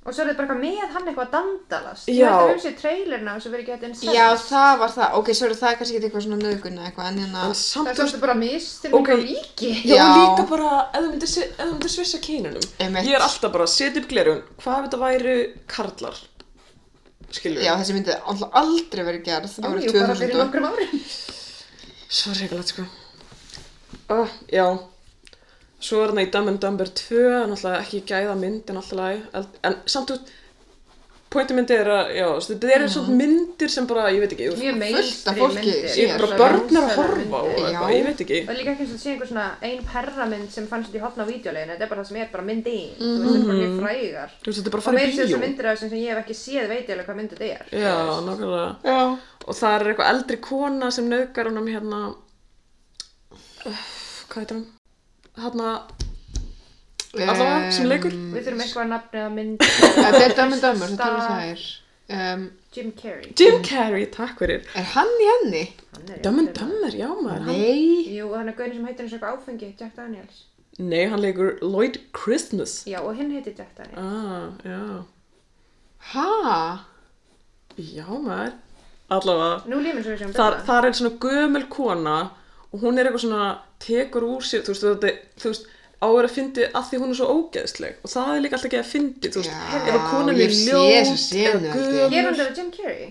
Og svo er þetta bara eitthvað með hann eitthvað að dandalast. Já. Það er um sig trailerna og svo verður ekki þetta eins já, það var það, ok, sorry, það er kannski ekki eitthvað svona nöðgunna eitthvað, en hérna en Það samt, er þú veist, svolítið bara mistir Ok. okay. líki. já, Já. já. líka bara ef þú myndir, si- ef þú myndir svissa kynunum Einmitt. ég er alltaf bara, setja upp glerun hvað ef þetta væri karlar skilur já, þessi myndið alltaf aldrei verið gerð Jú, árið jú, bara fyrir 2000 og- nokkrum árum. Svo reykjulegt sko uh, Já Svo er hann í Dumb and Dumber 2 en alltaf ekki gæða mynd en alltaf lagi en samt út pointi myndi er að, já, þú veist, þetta eru svona myndir sem bara, ég veit ekki, þú veist, Mjög Fullt af mainstream fólki myndir. sér. ég er bara börn er að horfa á Myndir. og eitthvað, Já. ég veit ekki Og líka ekki eins og það sé einhver svona ein perramynd sem fannst þetta í hotna á videoleginu, þetta er bara það sem er bara myndin, þú veist, þetta er bara mjög frægar. Þú veist, þetta er bara Og að meira séu Mhm. fara í þessu bíó myndir af þessum sem ég hef ekki séð veit ég alveg hvað mynd þetta er. Já, nákvæmlega já og það er eitthvað eldri kona sem nöðgar honum hérna Öff, hvað heitir hann? Hanna, allavega, sem leikur Við þurfum eitthvað nafnið að mynda Eh, Það er Dumb and Dumber, þetta eru þær. Um, Jim Carrey. Jim Carrey, takk fyrir er hann í henni? Hann er- Dumb and Dumber, já maður, hann Nei. Jú, og hann er gauðin sem heitir eins og eitthvað áfengi, Jack Daniels. Nei, hann leikur Lloyd Christmas. Já, og hinn heitir Jack Daniels. Ah, já. Hæ? Já, maður. Allavega. Nú lífum sem við séum Þar, þar er svona gömul kona og hún er eitthvað svona, tekur úr sér, þú veist, þetta, þú veist, á að vera að fyndi að því hún er svo ógeðsleg og það er líka alltaf ekki að fyndi, þú veist, Já, eða konan ég er sé ljót, þessa senu, eða held ég. gömul. Ég er undir að Jim Carrey.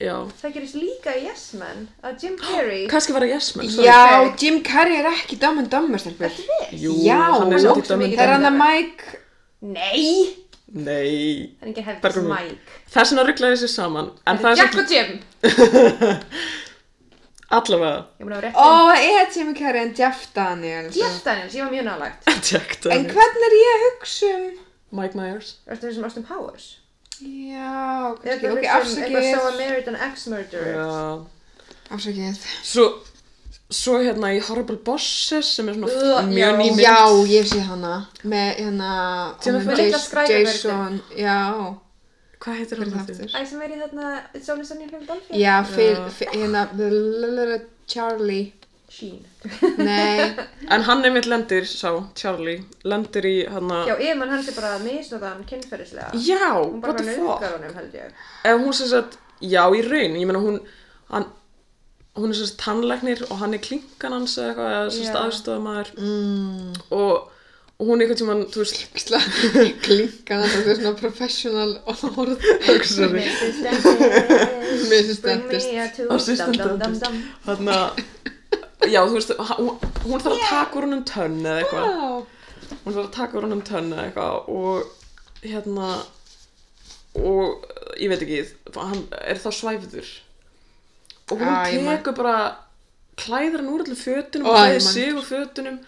Já, Það gerist líka í Yes Man að Jim Carrey... kannski vera yes menn. Já, Jim Carrey er ekki Dumb and Dumber, stelpur. Ertu viss? Jú, Já, hann er hann samt í ógeðslega dömum. mikið- Það er hann að Mike... Nei! Nei. Það er ekki hefðis Bergrún mín. Mike. Það er svona rugglaði þessu saman, Þetta en það er er Jack svona og Jim. allavega Ég mun að vera Ó, rétt það er Jim Carrey en Jeff Daniels. Jeff Daniels, ég var mjög nálægt. Jack En Daniels. hvern er ég að hugsa um? Mike Myers. Ertu þessum Austin Powers? Já, Ertu kannski, þessum eitthvað ok, So I afsakið. Married an Ex-Murderer? Já. Afsakið. svo, svo hérna í Horrible Bosses sem er svona Ugh, já. mjög nýmið Já, ég sé hana. Með hérna... Jennifer- honum Með litla Jason- skræðuverkið. Jason, já. hvað heitir hann Hvernig aftur? aftur? Æ, sem er í þarna It's Only Sunny in Philadelphia? Já, Já. fyr, fyr, hérna, blablabla, Charlie, Sheen. nei, en hann einmitt lendir, sá, Charlie lendir í hana Já, yfirmann hans er bara að misnota hann kynferðislega. já, Hún what bara the bara fuck nauðgar honum, held ég. ef hún sem sagt, já í raun ég meina hún, hann hún er sem sagt tannleiknir og hann er klinkan hans eða eitthvað, eða sem sagt Já. aðstofamæður mm, og, og hún einhvern tímann, þú veist píksla, klinkan alltaf því svona professional orð, hugsaði, Mrs. Dentist. Bring misstendist. me a tooth. Assistant Dum dum dum dum. hann já, þú veist, hann- hún, hún þarf að taka úr hann um tönn eða eitthvað Já, hún var að taka úr hann um tönnu eða eitthvað og hérna og eh, ég veit ekki hann er þá svæfður og hún Æ, ég man- tekur bara klæðir hann úr allir fötunum Ó, og ég klæðir man- sig úr fötunum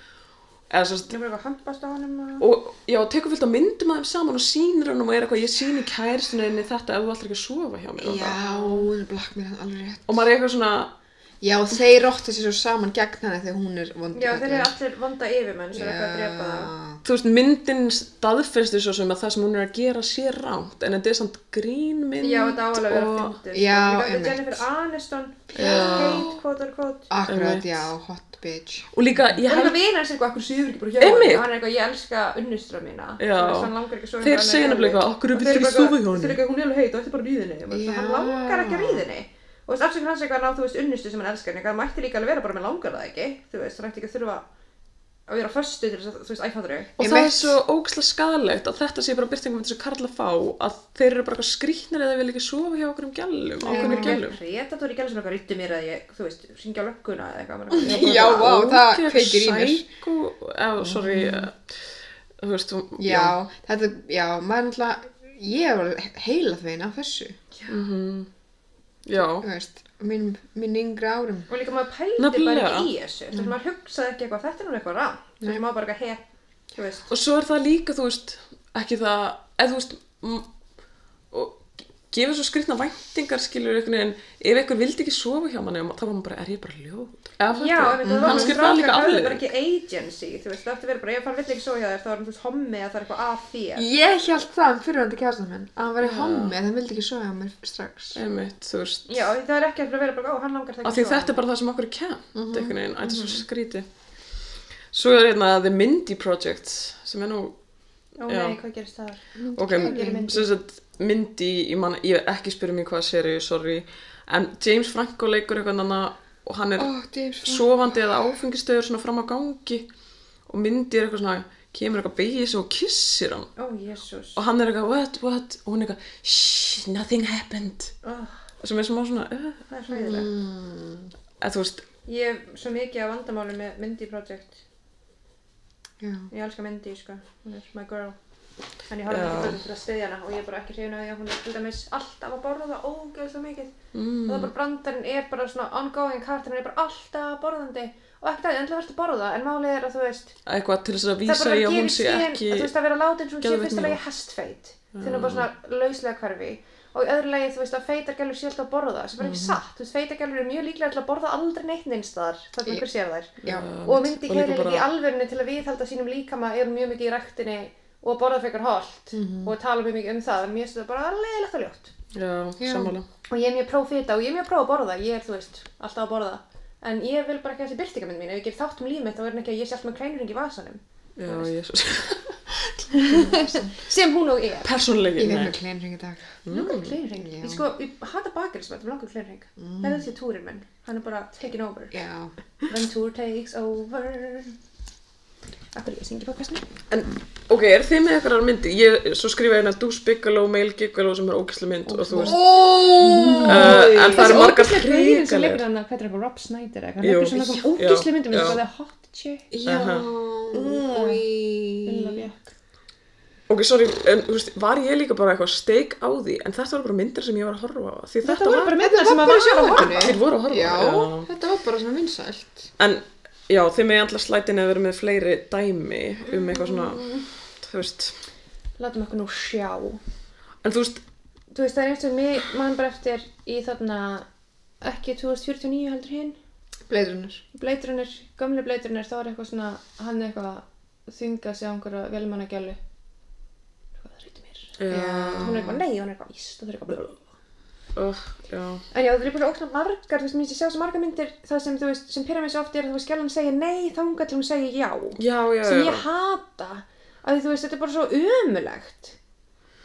eða sérst Ég var eitthvað að hampast á honum og... og já, tekur fyllt að myndum að þeim saman og sýnir hann og er eitthvað, ég sýni kæristinni þetta ef þú ætlar ekki að sofa hjá mér og já, það. hún blakk mér hann alveg rétt. og maður er eitthvað svona Já, þeir róttu sér svo saman gegn henni þegar hún er vondið. Já, þeir eru allir vonda yfirmenn sem er eitthvað að drepa það. þú veist, myndin staðfestir svo sem að það sem hún er að gera sé rámt en þetta er samt grínmynd Já, þetta áalega að vera og- fyndið. Já, einmitt. Þetta einmitt. er Jennifer Aniston, Já. Kate, quote or quote. Akkurat, Einmitt. já, hot bitch. og líka, ég Og held líka vinur hans er eitthvað, okkur séður ekki bara hjá Einmitt. honum?" Og hann er eitthvað, ég elska unnustra mína. Já. Þú veist, hann langar ekki að sofa hjá Þeir henni, segja hann er nefnilega leiðinni. Og þeir eitthvað, "Af hverju viltu ekki eru bara eitthvað- sofa hjá henni?" Þeir eru eitthvað, hún er alveg heit og þetta er bara ríðinni. Já. Hann langar ekki að ríðinni. Og þess afsökun hans er eitthvað að ná, þú veist, unnustu sem hann elskar, en eitthvað, hann mætti líka alveg vera bara með langar það ekki. Þú veist, hann ætti ekki að þurfa að vera föstu til þess að, þú veist, æfandur. Og Ég það er mitt- svo ógæslega skadalegt að þetta sé bara byrtingum þessu karla fá að þeir eru bara eitthvað skrýtnir eða vilja ekki sofa hjá okkur um gælum, okkur um gælum. Predator í gælum sem eitthvað rytti mér að ég, þú veist, syngja á lögguna eða eitthvað. maður er eitthvað- Já, vá, það kveikir í mér. Mhm. Sækó eða, sorry, eh, þú veist, þú- Já, þetta, já, maður náttúrulega, ég var heila þein af þessu, já, þú veist, á mínum, mín yngri árum. og líka maður pældi bara Nefnilega. ekki í þessu þú veist, maður hugsaði ekki eitthvað, þetta er nú eitthvað rann þú veist, maður bara eitthvað hef, þú veist og svo er það líka, þú veist, ekki það, eða þú veist, m- og gefur svo skrifna væntingar, skilur einhvern veginn, ef einhver vildi ekki sofa hjá manni, þá var hann bara, er ég bara ljót? Eða, Já, einmitt, fattu? það var Mm, bara kannski er það líka strákar höfðu bara afleiðing. ekki agency, þú veist, það ætti verið bara, ef hann vill ekki svo hjá þér, þá er hann, þú veist, hommi að það er eitthvað að þér. Ég held það um fyrirvændi kjæstan minn, að hann var í hommi, það vildi ekki sofa á mér strax. Einmitt, þú veist, Já, því það er ekki að vera bara, ó, hann langar það ekki af því þetta er bara það sem okkur er kæmt, Mhm. einhvern veginn, þetta er svo skríti. Svo er hérna The Mindy Project, sem er nú, Ó já. nei, hvað gerist það? ok, Hvað gerir Mindy? sem sagt, Mindy, ég man, ég ekki spyrir mér hvað séri, sorry, en James Franco leikur eitthvað annað og hann er Ó, James Franco. sofandi eða áfengistöður svona fram á gangi og Mindy er eitthvað svona, kemur eitthvað beigis og kissir hann Ó, jésús. og hann er eitthvað, what, what, og hún er eitthvað, shh, nothing happened, sem er smá svona, uh, Það er hræðilegt. Mm. eða þú veist, Ég hef svo mikið af vandamáli með Mindy Project. Já. Ég elska Mindy, sko. Hún er my girl. En ég horfði Já. ekki fyrir til að styðja hana og ég er bara ekki hrifin að því að hún er til dæmis alltaf að borða ógeðslega mikið. Mm. Og það er bara brandarinn er bara svona ongoing karakterinn er bara alltaf borðandi og ekkert að því endilega verður að borða en málið er að þú veist eitthvað til þess það að er vísa bara í að að gefa í hún sé skyn ekki, að þú veist að vera látin svo hún sé geðveikt Mm. fyrsta mjög. lagi hestfeit þegar hún er bara svona lauslega hverfi og í öðru lagi þú veist að feitargælur sé alltaf að borða sem er Mm. ekki satt, þú veist feitargælur er mjög líklega til að borða aldrei neitt neins þar þar sem Ég- einhver sér þær Já. og myndi og líka keiri líka í bara- alvörinu til að viðhalda sínum líkama eru mjög mikið í ræktinni og borða frekar holt Mhm. og tala mjög mikið um það en mér finnst þetta bara leiðilegt og ljótt já, Já. sammála. og ég er mjög próf fita og ég er mjög próf að borða ég er, þú veist, alltaf að borða en ég vil bara ekki að þessi byrtingamind mín ef ég ger þátt um líf mitt þá er hann ekki að ég sé alltaf með krænurinn í vasanum Já, jésus. sem hún og ég Persónleiki, Ég veit með nei. kleinring í dag. langar mm, kleinring já. ég sko, ég hata bakerismat, ég langar kleinring mm. það er því túrin minn, hann er bara taking over Já. when tour takes over akkur ég syngi podcastinu En, ok, er þið með eitthvað myndi? Ég, svo skrifa ég hérna Dús Bigaló, Mail Gigaló sem er ógæslega mynd og þú veist, Ó! uh, en það eru margar gauðin sem leikur hrikalegar. hann að hvað er eitthvað Rob Snyder eitthvað, hann Jú. leikur svona eitthvað Já. ógísli myndum Já. eins og það er hot chick Já. Aha. Mm. Úi. Ok, sorry, en þú veist, var ég líka bara eitthvað steik á því, en þetta var bara myndir sem ég var að horfa á, því þetta, þetta voru var, bara myndir sem að vera sjá horfinu. þeir voru að horfa á. Já, þetta var bara svona vinsælt. En, já, þið með alltaf slætinu að vera með fleiri dæmi um eitthvað svona, þú veist, látum okkur nú sjá en þú veist, þú veist það er eins og mig mann bara eftir í þarna ekki 2049 heldur hinn Bleirunur. bleitrunir, gamli bleitrunir þá er eitthvað svona, hann er eitthvað að þynga sig á einhverja velmannagjölu eitthvað það reytir mér já, hún er eitthvað nei, hún er eitthvað íst og það er eitthvað blöð uh, já, en já, það er bara óknar margar, þú veist, mér finnst ég sjá svo margar myndir það sem, þú veist, sem pyrir mér svo oft er að þú veist, skjálan segja nei, þanga til hún segja já já, já, sem já, ég hata að þú veist, þetta er bara svo ömulegt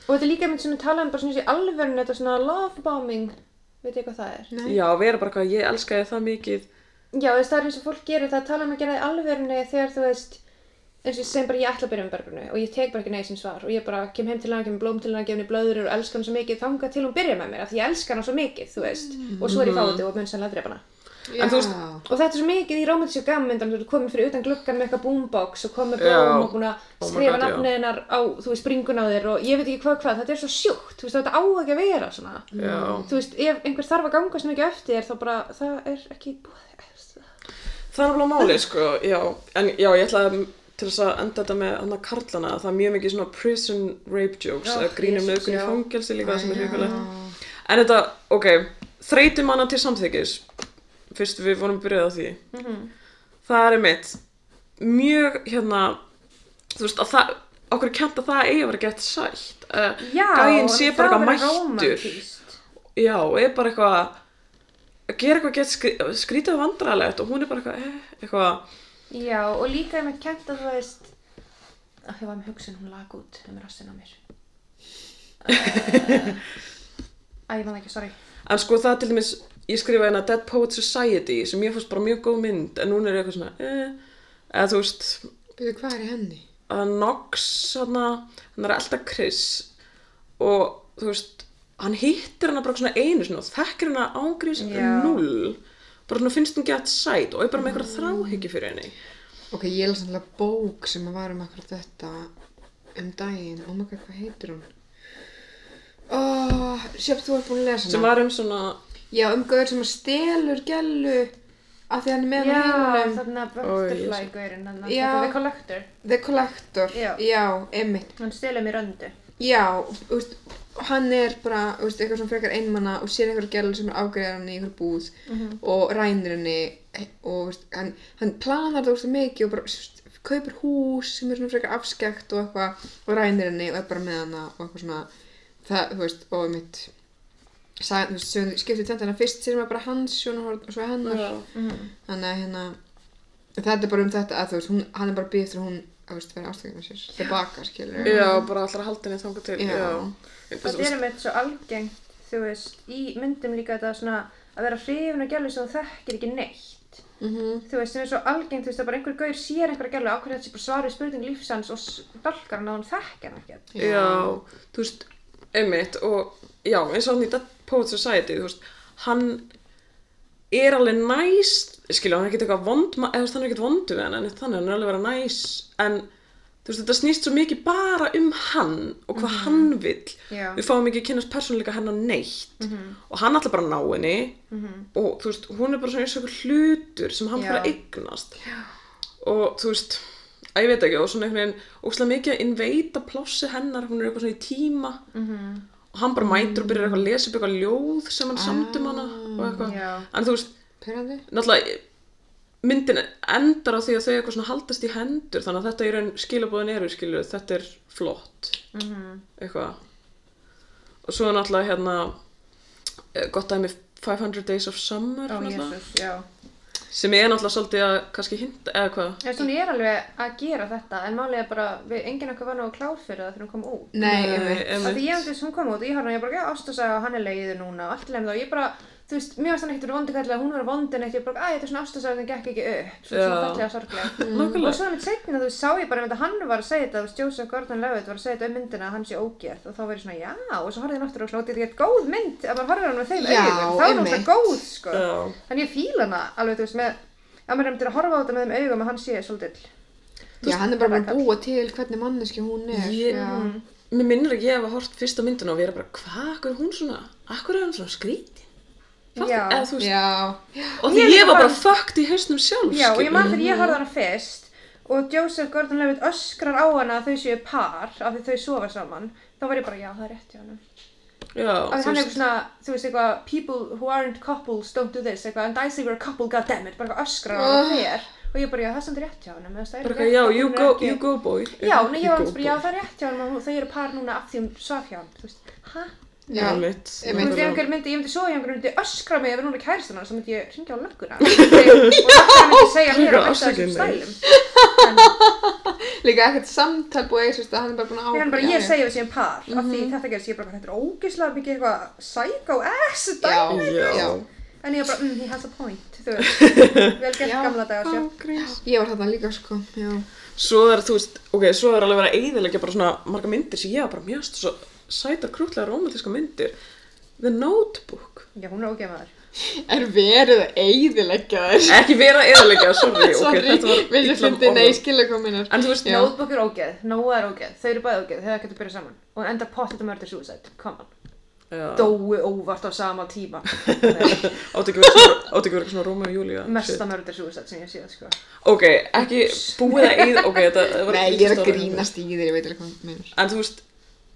og þetta er líka mynd sem við tala um bara svona eins og í alvörun, þetta svona love bombing veit ég hvað það er Nei. já, vera bara eitthvað, ég elskaði það mikið, já, þú veist, það er eins og fólk gerir það tala um að gera það í alvörunni þegar þú veist eins og ég sem bara ég ætla að byrja með bergrunu og ég tek bara ekki nei sem svar og ég bara kem heim til hana, kem blóm til hana, kem henni blöður og elska hana svo mikið þanga til hún byrja með mér af því ég elska hana svo mikið, þú veist og svo er Mhm. ég fáið og mun sannlega drepa hana En þú veist- Já. Og þetta er svo mikið í romantísku gammyndum, þú ert komin fyrir utan gluggan með eitthvað boombox og komin með Já. blóm og búin að Oh my skrifa God, já. nafnið hennar á, þú veist, springun á þér og ég veit ekki hvað hvað, þetta er svo sjúkt, þú veist, þetta á ekki að vera svona. já, Þú veist, ef einhver þarf að ganga svona ekki eftir þér, þá bara, það er ekki búið. það er alveg málið, sko, já, en já, ég ætlaði til þess að enda þetta með hann að karlana, það er mjög mikið svona prison rape jokes, Já, að grínum Jesus, nöðgun í já. fangelsi líka, sem er Já. hrikalegt. En þetta, ok, þreytum hana til samþykis Fyrst við vorum byrjað á því Mhm. Það er mitt Mjög, hérna Þú veist, að það Okkur er kent að það eigi að vera gett sætt uh, Gæinn sé bara eitthvað mættur Já, er bara eitthvað að Gera eitthvað gett skrí, skrítið og vandræðalegt Og hún er bara eitthvað, eh, eitthvað Já, og líka ég með kent að þú veist, að ég var með hugsun, hún lag út um rassin á mér. Æ, ég man það ekki, sorry. En sko það til dæmis, ég skrifa hérna Dead Poet Society Sem ég fannst bara mjög góð mynd En núna er ég eitthvað svona eh, Eða þú veist, Býðu, hvað er í henni? að Nox hann er alltaf Chris og þú veist hann hittir hana bara svona einu sinni og þekkir hana ángriðs Já. null bara svona finnst hún gett sæt og er bara með eitthvað þráhyggju fyrir henni Ok, ég las alltaf bók sem að var um akkurat þetta um daginn. Oh my god, hvað heitir hún? Oh, sjöfn, þú ert búin að lesa sem var um svona Já, um gauður sem að stelur gælu af því að hann er með hann á heimilum. þarna Ó, butterfly Jesús. gaurinn, þarna, Já. þetta er kollektor. The Collector. Já. einmitt. Hann stelur mér öndu. Já, þú veist, hann er bara, þú veist, eitthvað svona frekar einmanna og sér einhver gælu sem er afgreðar hann í einhver búð og rænir henni og, þú veist, hann, hann planar það úrstu mikið og bara, þú veist, kaupir hús sem er svona frekar afskekt og eitthvað og rænir henni og er bara með hana og eitthvað svona, það, þú veist, og mitt, sagði, þú veist, sögðu- skipti tvennt hana fyrst sér maður bara hans sjónarhorn og svo hennar Mhm. þannig að hérna þetta er bara um þetta að þú veist hún, hann er bara býð þegar hún að veist vera ástökjum með sér tilbaka skilur við. já, bara allar að halda henni þangað til Já. Það er með svo algengt, þú veist, í myndum líka þetta svona að vera hrifin að gælu sem þú þekkir ekki neitt. Mhm. Þú veist, sem er svo algengt, þú veist, að bara einhver gaur sér einhver gælu ákveðið þetta sé bara svarið spurning lífsans og s- dálkar hann að hann þekkir hann ekki. Já, þú veist, einmitt og já, eins og hann í Dead Poets Society, þú veist, hann er alveg næs, skilja, hann er ekkert eitthvað vond, ma- eða þú veist, hann er ekkert vondu við hann, en þannig, hann er alveg að vera næs, en þú veist, þetta snýst svo mikið bara um hann og hvað hann vill, Já. Mhm. við fáum ekki að kynast persónuleika hennar neitt og hann ætla bara að ná henni og þú veist, hún er bara svona eins og einhver hlutur sem hann Já. bara eignast Já. og þú veist að ég veit ekki, og svona einhvern veginn óslega mikið að inveita plássi hennar hún er eitthvað svona í tíma -hmm. Mhm. og hann bara mætur Mm. og byrjar eitthvað að lesa upp eitthvað ljóð sem hann samdi um hana og eitthvað Ah, Já. en þú veist, Pirrandi? náttúrulega myndin endar á því að þau eitthvað svona haldast í hendur þannig að þetta er einn skilabóðin eru skilur þetta er flott Mhm. eitthvað og svo er náttúrulega hérna eh, gott dæmi 500 Days of Summer Ó, náttúrulega, Jésús, já. sem er náttúrulega svolítið að kannski hinta eða hvað Þú veist, hún er alveg að gera þetta, en málið er bara, við, enginn okkar var náðu klár fyrir það þegar hún kom út. Nei, einmitt Af því ég andis, hún kom út og ég horfði hann, ég bara, já, ástasaga og hann er leiður núna og allt leiðum það og ég bara, þú veist, mér varst hann ekkert vondi kallega, hún var vondi en eitt, ég bara, æ, þetta er svona ástasaga sem gekk ekki upp, svo Já. svona fallega og sorglega. Nákvæmlega. og svo hann setna, þú veist, sá ég bara, einmitt að hann var að segja þetta, þú veist, Joseph Gordon-Levitt var að segja þetta um myndina að hann sé ógeð og þá var ég svona, já, og svo horfði ég náttúrulega og slóti, þetta er ekkert góð mynd, að maður horfði hann með þeim Já, augum, þá er hún einmitt. svona góð, sko. Já. Þannig ég fíla hana, alveg, þú veist, með, að maður er til að horfa á þetta með þeim augum að hann sé svolítill. Já, hann er bara búin að búa til hvernig manneski hún er Ég- Já, mér minnir að ég hef hort fyrsta myndina og vera bara hvað, akkur er hún svona akkur er hún svona skrítin Fattu- Já. eða, þú veist, já, og því Ég ég líka var bara bara- fucked í hausnum sjálf Já, og ég man skilurðu. þegar ég horfði hana fyrst og Joseph Gordon-Levitt öskrar á hana að þau séu par af því þau sofa saman þá var ég bara, já, það er rétt hjá hann af já, því þú hann er veist, eitthvað svona, þú veist eitthvað people who aren't couples don't do this eitthvað, and I say we're a couple, goddammit bara eitthvað öskrar á hana þér og ég bara, já, það er samt rétt hjá hann Ah. bara eitthvað, já, you go, you go boy Já, nei, ég var alveg You go, bara, já, boy. það er rétt hjá hann og þau eru par núna af því um svaf hjá hann þú veist, hæ? já. Einmitt. Þú Einmitt. veist, ef einhver myndi, ég myndi sofa hjá einhver myndi öskra á mig ef hún er kærastan hans, þá myndi ég ringja á lögguna og það myndi segja mér að Líka hætta þessum afsakið mig. stælum Líka ekkert samtal búið eða að hann er bara Ég búin að ákveða hann bara, ég segja við séum par, af því Mhm. þetta gerist, ég bara, þetta er ógeðslega mikið eitthvað psycho-ass dæmi. Já, Já. já En ég bara, mm, he has a point, þú veist, vel gert Já. gamla dagar sjá. Ágríns. Ég var þarna líka sko, já svo er þú veist, ok, svo er alveg verið að eyðilegja bara svona marga myndir sem ég var bara mjögst svo sætar krútlega romantíska myndir The Notebook Já, hún er ógeð maður. Er verið að eyðileggja þér? ekki vera að eyðilegja, sorry, Sorry, ok, þetta var vilja illa fyndi, orðað. nei, skilja hvað minnar en þú veist, Já. Notebook er ógeð, Noah er ógeð, þau eru bæði ógeð, þau getur byrjað saman. Og hún endar pottet að murder suicide, come on. Já. Dói óvart á sama tíma. átti ekki verið svona- átti ekki verið svona Róma og Júlía Mesta murder suicide sem ég séð, sko. ok, ekki búið að eyða ok, þetta þetta var Nei, ég er að stóra- grínast í þér, ég veit alveg hvað minnar en þú veist,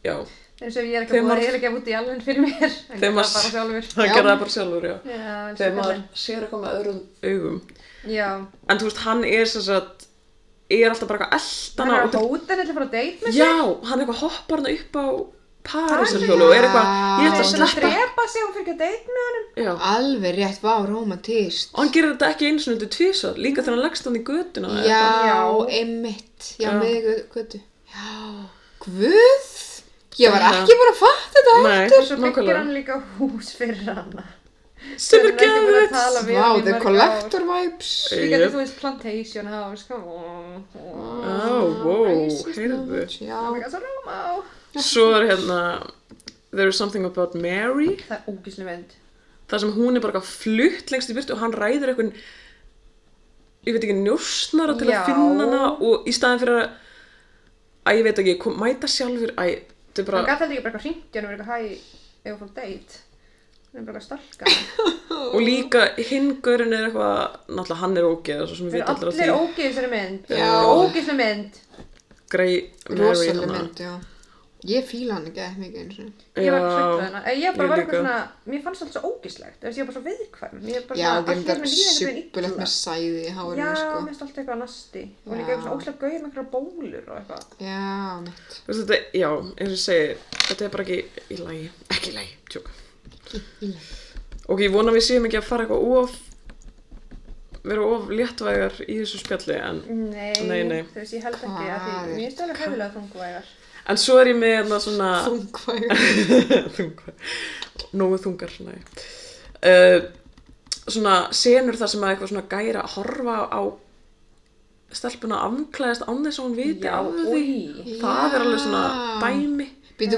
já, Eins og ég er ekki Þegar búið að maður- eiginlega út í alveg fyrir mér, en ég Þegar var maður- bara sjálfur. það Já. gerði það bara sjálfur já. Já, eins og þegar maður kallinn. sér eitthvað með öðrum augum Já, en þú veist, hann er sem sagt er alltaf bara eitthvað hann eldana er á hótel til að fara að date með já, hann eitthvað hoppar hann upp á Parísarhjólu og er eitthvað ég Það er ætla að að sleppa drepa sig, hún fyrir ekki að deyta með honum. já. Alveg rétt, vá, romantist og hann gerir þetta ekki einu svona undir tvisar líka þegar hann leggst hann í götuna eða eitthvað. Já, Já. einmitt Já, Já. með gö- götu Já, guð Ég var Já. ekki bara að fatta þetta Nei, Og svo byggir nákvæmlega hann líka hús fyrir hana. sem er Hann ekki búin að geðveikt. tala við Vá, hann í the mörg collector vibes ár. Líka þetta Yep. þú veist plantation house, come on. Oh Á, wow, Racist heyrðu knowledge, Já, my god, so Roma. Svo er hérna There's something about Mary Það er ógísli mynd. þar sem hún er bara eitthvað flutt lengst í byrtu og hann ræður eitthvað ég veit ekki, njósnara til Já. að finna hana og í staðin fyrir að, að ég veit ekki, kom, mæta sjálfur, að þetta er Hann bara, gæti heldur ekki bara hringt hérna og verið eitthvað hæ eða fór date. Hann er bara að stalka. hann. og líka hingurinn er eitthvað, náttúrulega hann er ógeð, svo Þeir sem við eru allir að allir því, ógeð í þessari mynd. Já. Ógeðslega mynd. grei, Mary, hérna. rosaleg hana. mynd, já ég fíla hann ekki eitthvað mikið eins og Ég var Já. hrætt við hana. Eh, Ég Ég bara var líka. eitthvað svona, mér fannst alltaf svo ógeðslegt. Þú veist, ég var bara svo viðkvæm. Ég bara já, svona, og allt í það einu mér líður einhvern er veginn sjúpulegt illa. með sæði í Já, hárinu, mér sko finnst alltaf eitthvað nasti. Og Já. líka eitthvað ógeðslega gauð með eitthvað bólur og eitthvað. já, mitt Þú veist, þetta, já, eins og ég segi, þetta er bara ekki í lagi, ekki í lagi, tjók. í lagi. Og ég vona að við séum ekki að fara eitthvað of, vera of léttvægar í þessu spjalli, en, Nei, Nei, nei. þú veist, ég held ekki að því, Hvað er- mér finnst alveg hæfilega þungvægar. en svo er ég með þarna svona, Ah. þungvægur þungar, nógu þungar, næ. Uh, svona senur þar sem að eitthvað svona gæra að horfa á stelpuna afklæðast án þess að hún viti Já, af því. oj. Það er alveg svona Já. dæmi. býtu,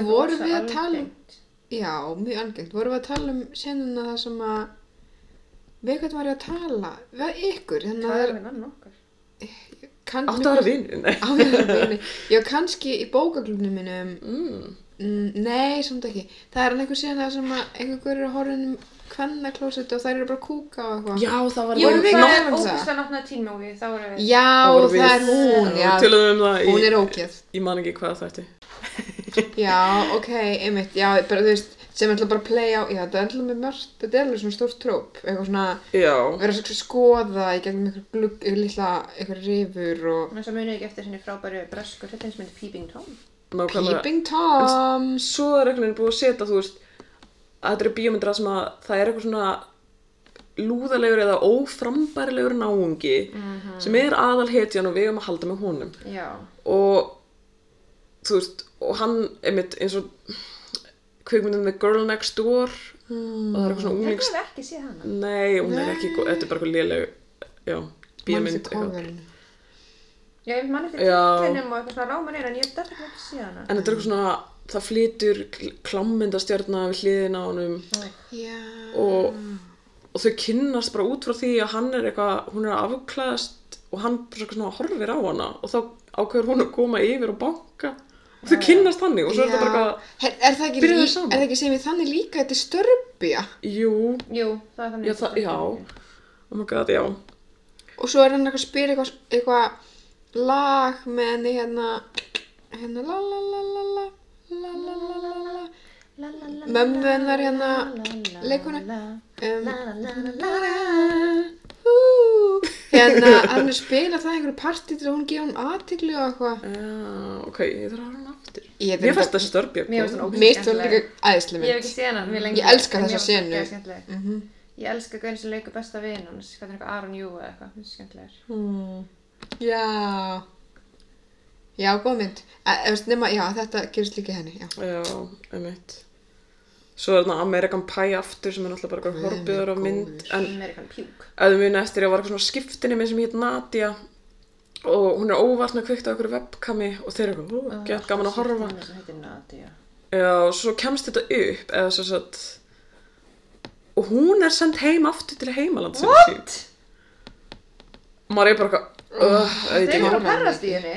Það er voru rosa við að tala um algengt. já, mjög algengt, voru við að tala um senuna það sem að við hvernig var ég að tala við ykkur, þannig Það að það er er við nann okkar. kann, Áttu að vera vinnu, nei. vinni já, kannski í bókaklubnum minum Mm. Mm, nei, samt ekki. Það er hann einhver síðan það sem að einhver eru horfin um kvennaklósetti og þær eru bara að kúka og eitthvað. Já, það var Jú, bara- við það er erum það. ógustlega náttúrulega tímói, þá voru við. Já, vorum við- það er hún, já. Við tölum um það Hún í, er ógeð. ég man ekki hvað þetta Já, ok, einmitt, já, bara þú veist, sem ætla bara að playa á, já, þetta er alltaf með mörgt, þetta er alveg svona stórt tróp, eitthvað svona, Já, vera að skoða í gegnum einhver glugg, einhver lilla, einhver rifur og... En svo munið ekki eftir henni frábæru bresku hryllingsmynd Peeping Tom. nákvæmlega Peeping Tom! Svo er einhvern veginn búið að setja, þú veist að þetta eru bíómyndir þar sem að það er eitthvað svona lúðalegur eða óframbærilegur náungi Mhm. sem er aðal hetjan og við um að halda með honum Já. og þú veist, og hann einmitt eins og kvikmyndin The Girl Next Door Hmm, og það er Mm. eitthvað svona Þeir unglings hefur ekki séð hana. Nei, hún er ekki, góð, þetta er bara eitthvað léleg Já, bíómynd Manstu eitthvað. coverinu. Já, ég man eftir Já. titlinum og eitthvað svona ráman er, en ég hef þetta ekki séð hana. En þetta er eitthvað svona, það flytur kl- klámmyndastjarna við hliðina á honum Já. og, og þau kynnast bara út frá því að hann er eitthvað, hún er að afklæðast og hann bara svona horfir á hana og þá ákveður hún að koma yfir og banka og Ah, þau kynnast þannig og svo er þetta bara eitthvað, Her, er það ekki, Byrjuðu lí- saman. er það ekki sem við þannig líka, þetta er störbja? jú, Jú, það er þannig. já, það, já, oh my god, já, og svo er hann eitthvað að spila eitthvað, eitthvað lag með henni hérna hérna la la la la la la la la la la La, la, la, Mömmu la, hennar hérna, la, la, leikkona. la, um, la, la, la, la, la. hú. hérna hann er að spila það í einhverju partí til að hún gefa hún aðtigli og eitthvað já, Ah, ok, ég þarf að hafa hann aftur. Ég veit Mér fannst þetta- það störbja. Mér finnst hún ógeðslega mér stóð skemmtileg. líka æðislega Ég hef mynd Mhm. ekki séð hana mjög lengi. Ég elska en mér fannst þessa hún senu. ógeðslega skemmtileg. Ég elska gauðin sem leikur besta vinn hans, hvað er eitthvað Aron Jú eða eitthvað, það er skemmtilegur. Mm. já já, góð mynd Eh, þú veist, nema, já, þetta gerist líka í henni já. Já, einmitt. Svo er þarna American Pie aftur sem er náttúrulega bara Guð eitthvað minn horfiður á mynd, en Amerikan Puke. að við muni eftir að var eitthvað svona skiptinni með sem hétt Nadia og hún er óvartna kveikt á einhverju webkami og þeir eru eitthvað, "Ó, gett gaman að horfa Það sem heitir Nadia. Já, og svo kemst þetta upp eða svo satt og hún er sendt heim aftur til heimaland sem sín og maður er bara eitthvað "Ugh, Þeir veit eru ekki. bara að perrast í henni.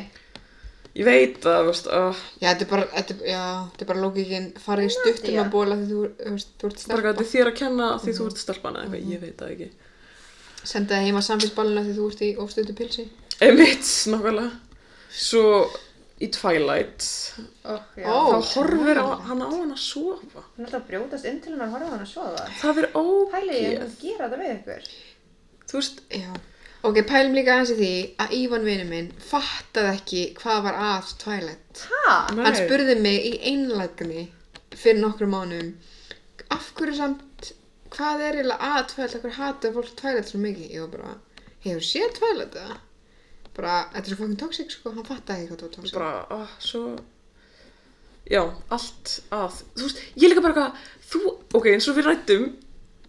ég veit það, þú veist uh, já, þetta er bara, þetta er- já, þetta er bara lókikinn farið í stuttum Hérna, já. að bóla því þú, þú, veist, þú ert bara stelpa. eitthvað, þetta er þér að kenna því þú ert stelpan eða eitthvað, ég veit það ekki Senda það heima samfélsballina því þú ert í ofstötu pilsi. Emitt, nákvæmlega svo í Twilight Oh, já. Ó. þá horfir á, hann á hann að sofa Hún er alltaf að brjótast inn til hennar að horfa á hann að sofa. það er Pæli ég að ógeð gera þetta við ykkur. þú veist, Já. Ok, pælum líka aðeins í því að Ívan vinur minn fattaði ekki hvað var að Twilight. Ha? Nei. Hann spurði mig í einlægni fyrir nokkrum mánum af hverju samt, hvað er eiginlega að Twilight, af hverju hata fólk Twilight svo mikið? Ég var bara, hefur séð Twilight eða? Bara, þetta er svo fokkin tóksik sko, hann fattaði ekki hvað það var tóksik. bara, ah, svo já, allt að þú veist, ég er líka bara eitthvað, þú ok, eins og við rættum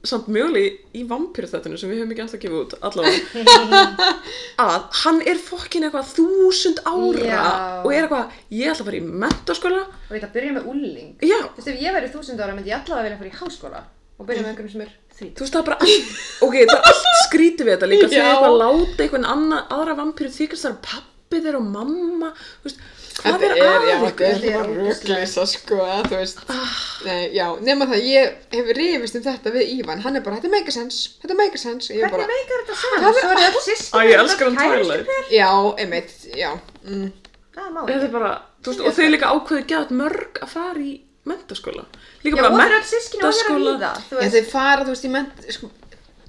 samt möguleg í vampýru þættinu sem við höfum ekki ennþá gefið út allavega að hann er fokkin eitthvað þúsund ára Já. og er eitthvað, ég ætla að fara í mentaskóla Og þetta byrja með úling. já, Þú veist, ef ég verið þúsund ára myndi ég allavega vilja fara í háskóla. og byrja með einhverjum sem er þrít Þú veist það er bara allt, ok, það er allt skrítið við þetta líka, þau Já. eitthvað að láta einhvern anna, aðra vampíru þykast það er pappi þeirra og mamma, þú veist, hvað er, að já, ykkur? Þetta er bara ruggleysa, sko, að þú veist. Ah. Nei, já, nema það, ég hef rifist um þetta við Ívan. Hann er bara, þetta make a sense, þetta make a sense. Ég er bara, Hvernig meikar þetta saman? Svo er það sýstir Æ, ég elskar hann Twilight. já, einmitt, já. Mm. Það má Þetta ekki er bara, þú veist, og þau líka ákveðu gæðat mörg að fara í mentaskóla. Líka Já, bara og þeir eru öll systkini og þeir eru að menntaskóla. líða Þú Já, veist, þau fara, þú veist, í ment, sko,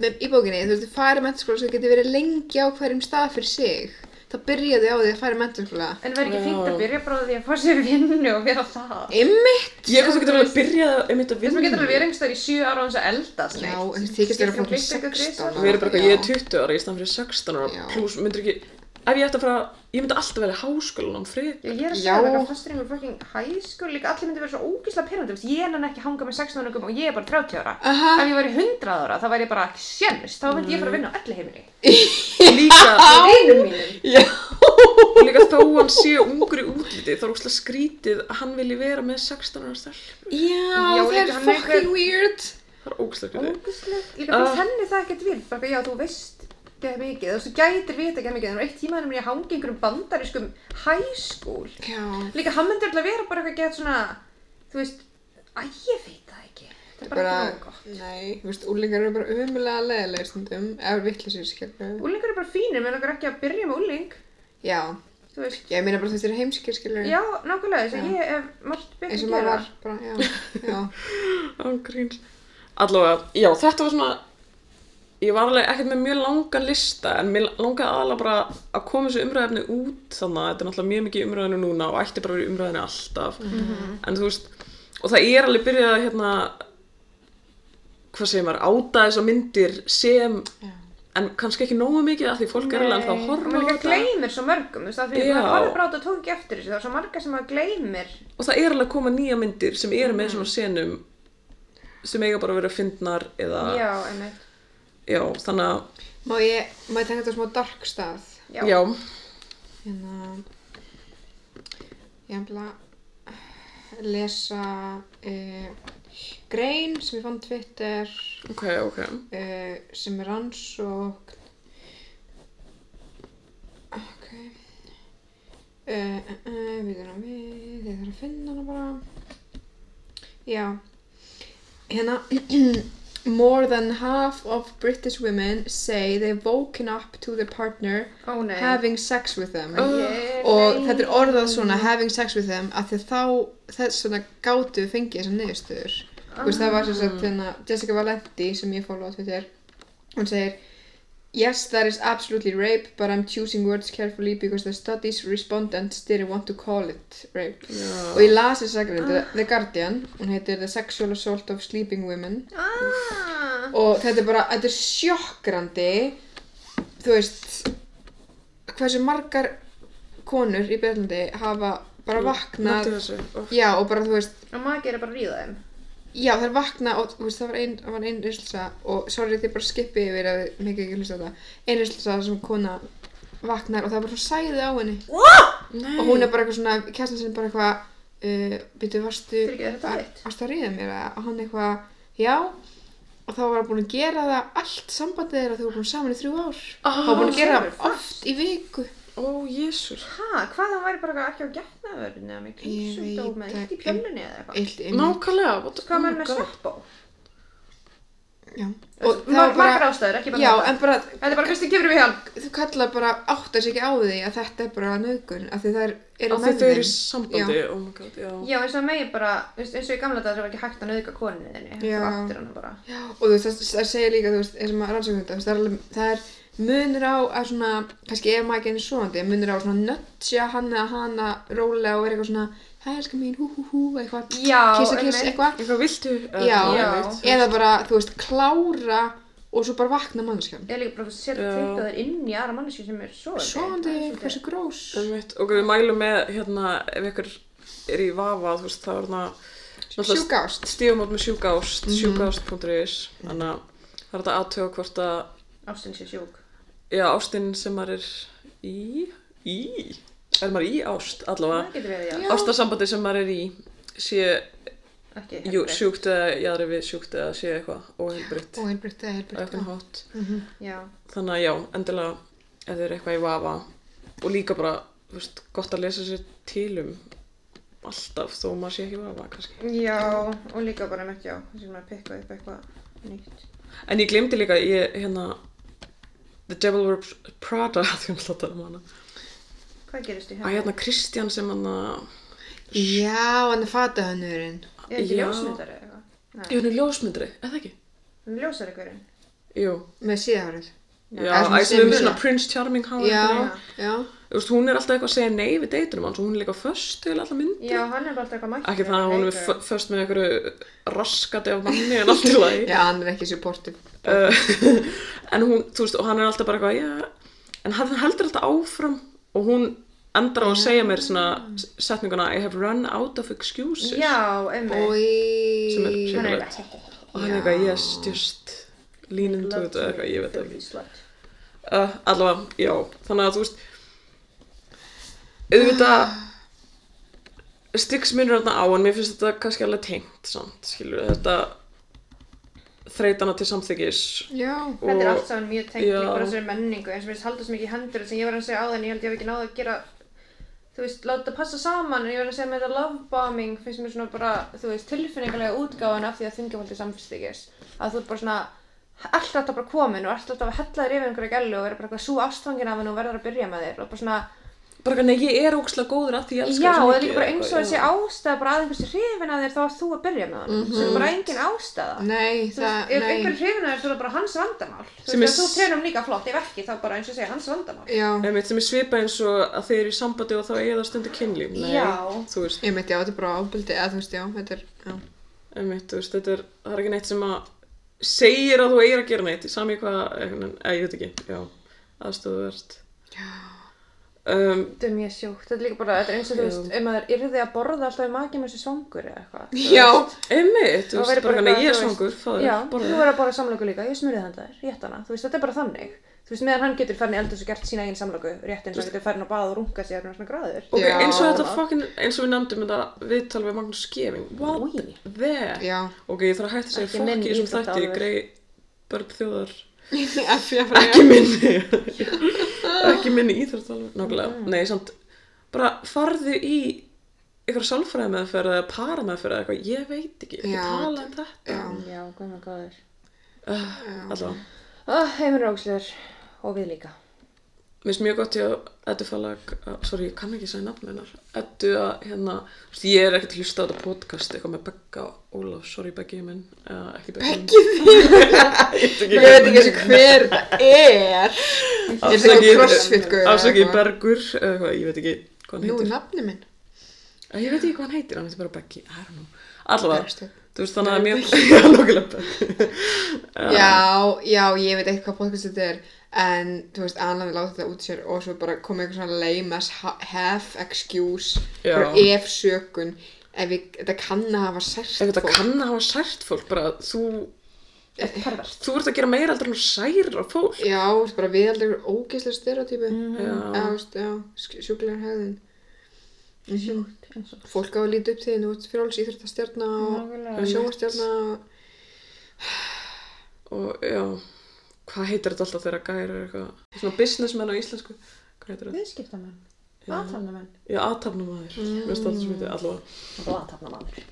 með, í bókinni, þú veist, þau fara í mentaskóla sem geti verið lengi á hverjum stað fyrir sig. Það byrjaði á því að fara í mentaskóla. en verður ekki fínt Já. að byrja bara á því að fá sér vinnu og vera það Einmitt! Ég og þú getur alveg byrjað að einmitt að Þess vinna. maður getur alveg verið einhverstaðar í 7 ára á þess að eldast Já, neitt. en þið þykist Skiptir vera um frá blikk eitthvað 16 þrisvar. Við erum bara, eitthvað, ég er Já. 20 ára, ég stann fyrir 16 ára, Já. pluss myndir ekki, ef ég ætti að fara, ég myndi alltaf velja háskólan án frið. Já, ég er að Já. segja það, fastur í mér fucking high school, líka allir myndi vera svo ógísla pyrrandi, veist, ég hann ekki hanga með 16 ára og ég er bara 30 ára. Aha. Ef ég væri 100 ára, þá væri ég bara ekki sjens, þá myndi ég fara að vinna á öllu heiminni. Líka, Á vinum mínum. Já. líka þó hann sé ungur í útliti, þá er úrslega skrítið að hann vilji vera með 16 ára stelp. Já, Já, það er líka hann fucking eitthvað- weird. Það er ógæslega skrítið. Ógíslegt, líka fyrir Ah. henni það ekkert vil, bara eitthvað, já, þú veist ekki að mikið, þú veist, þú gætir vita ekki að mikið, þannig að eitt tíma hann myndi ég hanga í einhverjum bandarískum high school. Já. Líka hann myndi alltaf vera bara eitthvað að geta svona, þú veist, að ég veit það ekki, það er bara ekki nógu gott. nei, þú veist, úlingar eru bara umulega leðilega stundum, eða vittlisir, skilur. Úlingar er bara fínir, menn okkar ekki að byrja með úling, Já, þú veist. ég meina bara þú veist, þeir eru heimskir, skilur. Já, nákvæmlega, þess að Já. ég hef margt Eins betur og að maður gera. var, bara, já, já. Ángríns. Allavega, já, þetta var svona, ég var alveg ekkert með mjög langan lista, en mér langaði aðalega bara að koma þessu umræðefni út, þannig að þetta er náttúrulega mjög mikið í umræðinu núna og ætti bara að vera í umræðinu alltaf. Mhm. En þú veist, og það er alveg byrjað að, hérna, hvað segir maður, áta þessar myndir sem, Já. en kannski ekki nógu mikið af því fólk er alveg ennþá að Og horfa maður á líka þetta. gleymir svo mörgum, þú veist, það Já. fyrir að horfa bara á þetta og tók ekki eftir þessu, það er svo marga sem maður gleymir. Og það er alveg að koma nýja myndir sem eru Mhm. með svona senum sem eiga bara að vera fyndnar eða, Já, einmitt. já, þannig að Má ég, má ég taka þetta á smá dark stað? Já. Já, Hérna, ég ætla að lesa eh, grein sem ég fann á Twitter ok, ok. eh, sem er rannsókn. Ok. Uh, uh, uh, við erum við, ég þarf að finna hana bara. Já. Hérna, more than half of British women say they've woken up to their partner Ó nei. having sex with them. Ég- Og nei. þetta er orðað svona having sex with them að því þá þess svona gátu fengið þessar niðurstöður. Þú veist það var sem sagt hérna Jessica Valenti sem ég follow á Twitter hún segir Yes, that is absolutely rape, but I'm choosing words carefully because the studies respondents didn't want to call it rape. Já. Og ég las þess að grein, The Guardian, hún heitir The Sexual Assault of Sleeping Women Ah. og þetta er bara, þetta er sjokkrandi þú veist hversu margar konur í Breitlandi hafa bara vaknað Náttu þessu. Oh. já og bara þú veist Og maður gerir bara að ríða þeim. já þær vakna og þú veist það var ein, það var ein rislsa og sorry þetta er bara skipi yfir að þið mikið ekki hlusta á þetta ein rislsa sem kona vaknar og það er bara svo sæði á henni Nei. og hún er bara eitthvað svona, kæslan sinni bara eitthvað uh, byrju, varstu Fyrir ekki, er þetta a- þitt?" varstu að ríða mér eða?" og hann eitthvað, já og þá var hann búin að gera það allt sambandið þeirra þau voru búin saman í þrjú ár Ah, þá var búin að gera það er það oft í viku Ó, jésús. Ha, hvað það væri bara eitthvað ekki á getnaverðinu eða með veit kynnsjúkdóma, það- eitt í pjölunni eða eitthvað. eilt inn Nákvæmlega, what the Hvað maður með God. sveppó? já. og það var Margar bara, ástæður, ekki bara já þetta. en bara Þetta er bara fyrst að gefur við hjálp. þú kallar bara áttar sig ekki á því að þetta er bara nöðgun af því það er, Af eru því með þau eru í þeim. sambandi, oh my god, já. Já, eins og megi bara, þú veist, eins og í gamla dagar það var ekki hægt að nauðga koninu þinni. Já. Þú vaktir hana bara. Já, og þú veist, það, það segir líka, þú veist, eins og maður rannsóknum þetta, þú veist, það er, alveg, það er munur á að svona, kannski ef maður ekki einu svoandi, munur á að svona nötsja hann eða hana rólega og vera eitthvað svona, hæ, elskar mín, hú, hú, hú, eitthvað, Já, kissa, einmitt. kissa, eitthvað, Eitthvað viltu? eða- Já. Já. einmitt. eða bara, þú veist, klára og svo bara vakna mannskjan. Ég er líka bara að setja Já. teipta þær inn í aðra mannesku sem er svoandi. Svoandi, Það er svolítið- hversu grós. Einmitt, og við mælum með, hérna, ef ykkur er í vafa, þú veist, það er hérna... náttúrulega Sjúkást. Stígamót með sjúkást, Mhm. sjúkást.is, þannig að það er þetta aðtöga hvort að, Ástin sé sjúk. já, ástinn sem maður er í, í, er maður í ást, allavega, Það getur verið, já. Já. ástarsambandi sem maður er í, sé ekki Jú, helbrigt. sjúkt eða jaðri við sjúkt eða sé eitthvað óheilbritt og helbritt eða á helbritt eitthvað hátt Já, þannig að já, endilega ef þið eru eitthvað í vafa og líka bara, þú veist, gott að lesa sér til um alltaf þó maður sé ekki í vafa kannski já, og líka bara með já, þessum að pikka upp eitthvað nýtt. en ég glemdi líka, ég, hérna The Devil Wears Prada því hún slottar um hana Hvað gerist í að hérna Kristján sem hann já, hann er fatahönnurinn Er ekki Já. ljósmyndari eða eitthvað? jú, hann er ljósmyndri, eða ekki? Hún er Ljósarleikurinn? jú, með síðahárið já, Er svona æ, sem sem- er svona Prince Charming hár já, einhvern veginn. já, Þú veist, hún er alltaf eitthvað að segja nei við deitunum hans og hún er líka föst til alltaf mynd Já, hann er bara alltaf eitthvað mættur. ekki það að hún er fö- föst með einhverju raskati af manni en allt í lagi já, hann er ekki supportive uh, en hún, þú veist, og hann er alltaf bara eitthvað, já, en hann heldur alltaf áfram og hún endar á að segja mér svona s- setninguna I have run out of excuses Já, emmi. og sem er í Hann er sérulegt eitthvað. og hann er eitthvað, yes, just lean into it eða eitthvað, ég veit það ekki Slut. uh, allavega, já, þannig að þú veist auðvitað styggsmunur þarna á en mér finnst þetta kannski alveg tengt samt, skilur þetta þreytana til samþykis já, Þetta er Og- allt saman mjög tengt Já. líka bara þessari menningu eins og mér finnst halda svo mikið í hendur sem ég var að segja á þenni, ég held ég hef ekki náða að gera þú veist, láta þetta passa saman en ég var að segja með þetta love bombing finnst mér svona bara, þú veist, tilfinningalega útgáfan af því að þingjafaldi samfélstíkis að þú ert bara svona allt alltaf bara komin og allt alltaf að hella þér yfir einhverja gælu og vera bara eitthvað svo ástfangin af henni og verður að byrja með þér og bara svona bara ekki, nei, ég er ógslag góður að því ég elska Já, þig svo og það er mikið, líka bara eins og eitthvað, þessi já. ástæða bara að einhversi hrifin að þér þá að þú að byrja með hann sem er Mhm. bara engin ástæða nei, Þú veist, það, ef einhver nei hrifin að þér, þú er bara hans vandamál þú Sem veist, ef er- þú trefnum líka flott, ef ekki, þá bara eins og segja hans vandamál já, Einmitt, sem er svipað eins og að þið eru í sambandi og þá eiga það stundu kynlíf Nei, Já. þú veist, ég meit, já, þetta er bara ábyldi eða þú veist, já, þetta er, já einmitt, þú veist, þetta er, það er ekki neitt sem að segir að þú eigir að gera neitt í sami hvað, eh, eða ég veit ekki já, aðstöðu verst um, Þetta er mjög sjúkt, þetta er líka bara, þetta er eins og þú Já. veist, ef maður yrði að borða alltaf í maki með þessu svangur eða eitthvað þú já, veist. einmitt, þú Það veist, væri bara bara hann eitthvað, ég er þú veist, svangur, Já, faður, þú borða verður að borða samlöku líka, ég smurði þann þær, rétt hana, þú veist, þetta er bara þannig Þú veist, meðan hann getur farin í eldhús og gert sína eigin samlöku, rétt eins og hann getur farin að baða og runga sér og svona gráður Ok, Já. eins og þetta fucking, eins og við nefndum þetta viðtal við Magnús Skeving What Új. the? já Ok, ég þarf að hætta að Ekki segja minn fokki í þessum íþrótta þætti, álfur. grei börn þjóðar F, já, bara, ekki minni ekki minni íþróttalveg nákvæmlega, Mm. nei samt bara farðu í eitthvað sálfræði meðferð eða para meðferð eða eitthvað, ég veit ekki, ekki Já, tala um þetta já, Já, hvað maður góður uh, allavega, Ah, heimur ógslegur og við líka mér finnst mjög gott ég að Eddu Falag, uh, sorry, ég kann ekki segja nafn hennar, Eddu að hérna þú veist, ég er ekkert að hlusta á þetta podcast eitthvað með Begga og Ólaf, sorry Beggi minn uh, ekki Beggi ég veit ekki eins og hver það er Ég er Afsakið- ekki crossfit sko. guður afsakið Bergur, eða eitthvað, ég veit ekki hvað hann Nú, heitir nafni minn Eh, Ég veit ekki hvað hann heitir, hann heitir bara Becky, I don't know. Allavega, Bergsteinn. þú veist þannig að mér... Já, nokkulega Becky. Já, já, ég veit eitthvað podcast þetta er En, þú veist, annan láta þetta út sér Og svo bara komið eitthvað svona lame as ha- half excuse Já. Bara ef sökun Ef ég, þetta kann að hafa sært Ef þetta kann að hafa sært fólk, bara þú... Eitt pervert Þú ert að gera meira aldrei en að særa fólk. Já, þú veist, bara við aldrei ógeðslega stereotypu mm Já, Mhm. Já, þú veist, já, sk- sjúklegar hegðin Mhm. Sjúkt eins og Fólk á að líta upp til þín, þú ert frjáls íþróttastjarna Nákvæmlega. Og sjóastjarna og... og já, hvað heitir þetta alltaf þegar gæri er eitthvað? Svona businessmenn á íslensku, hvað heitir þetta? Mm. Viðskiptamenn, aðtalnamenn Já, aðtapnamaður, mér finnst alltaf sem heitir, allavega. og aðtalnamaður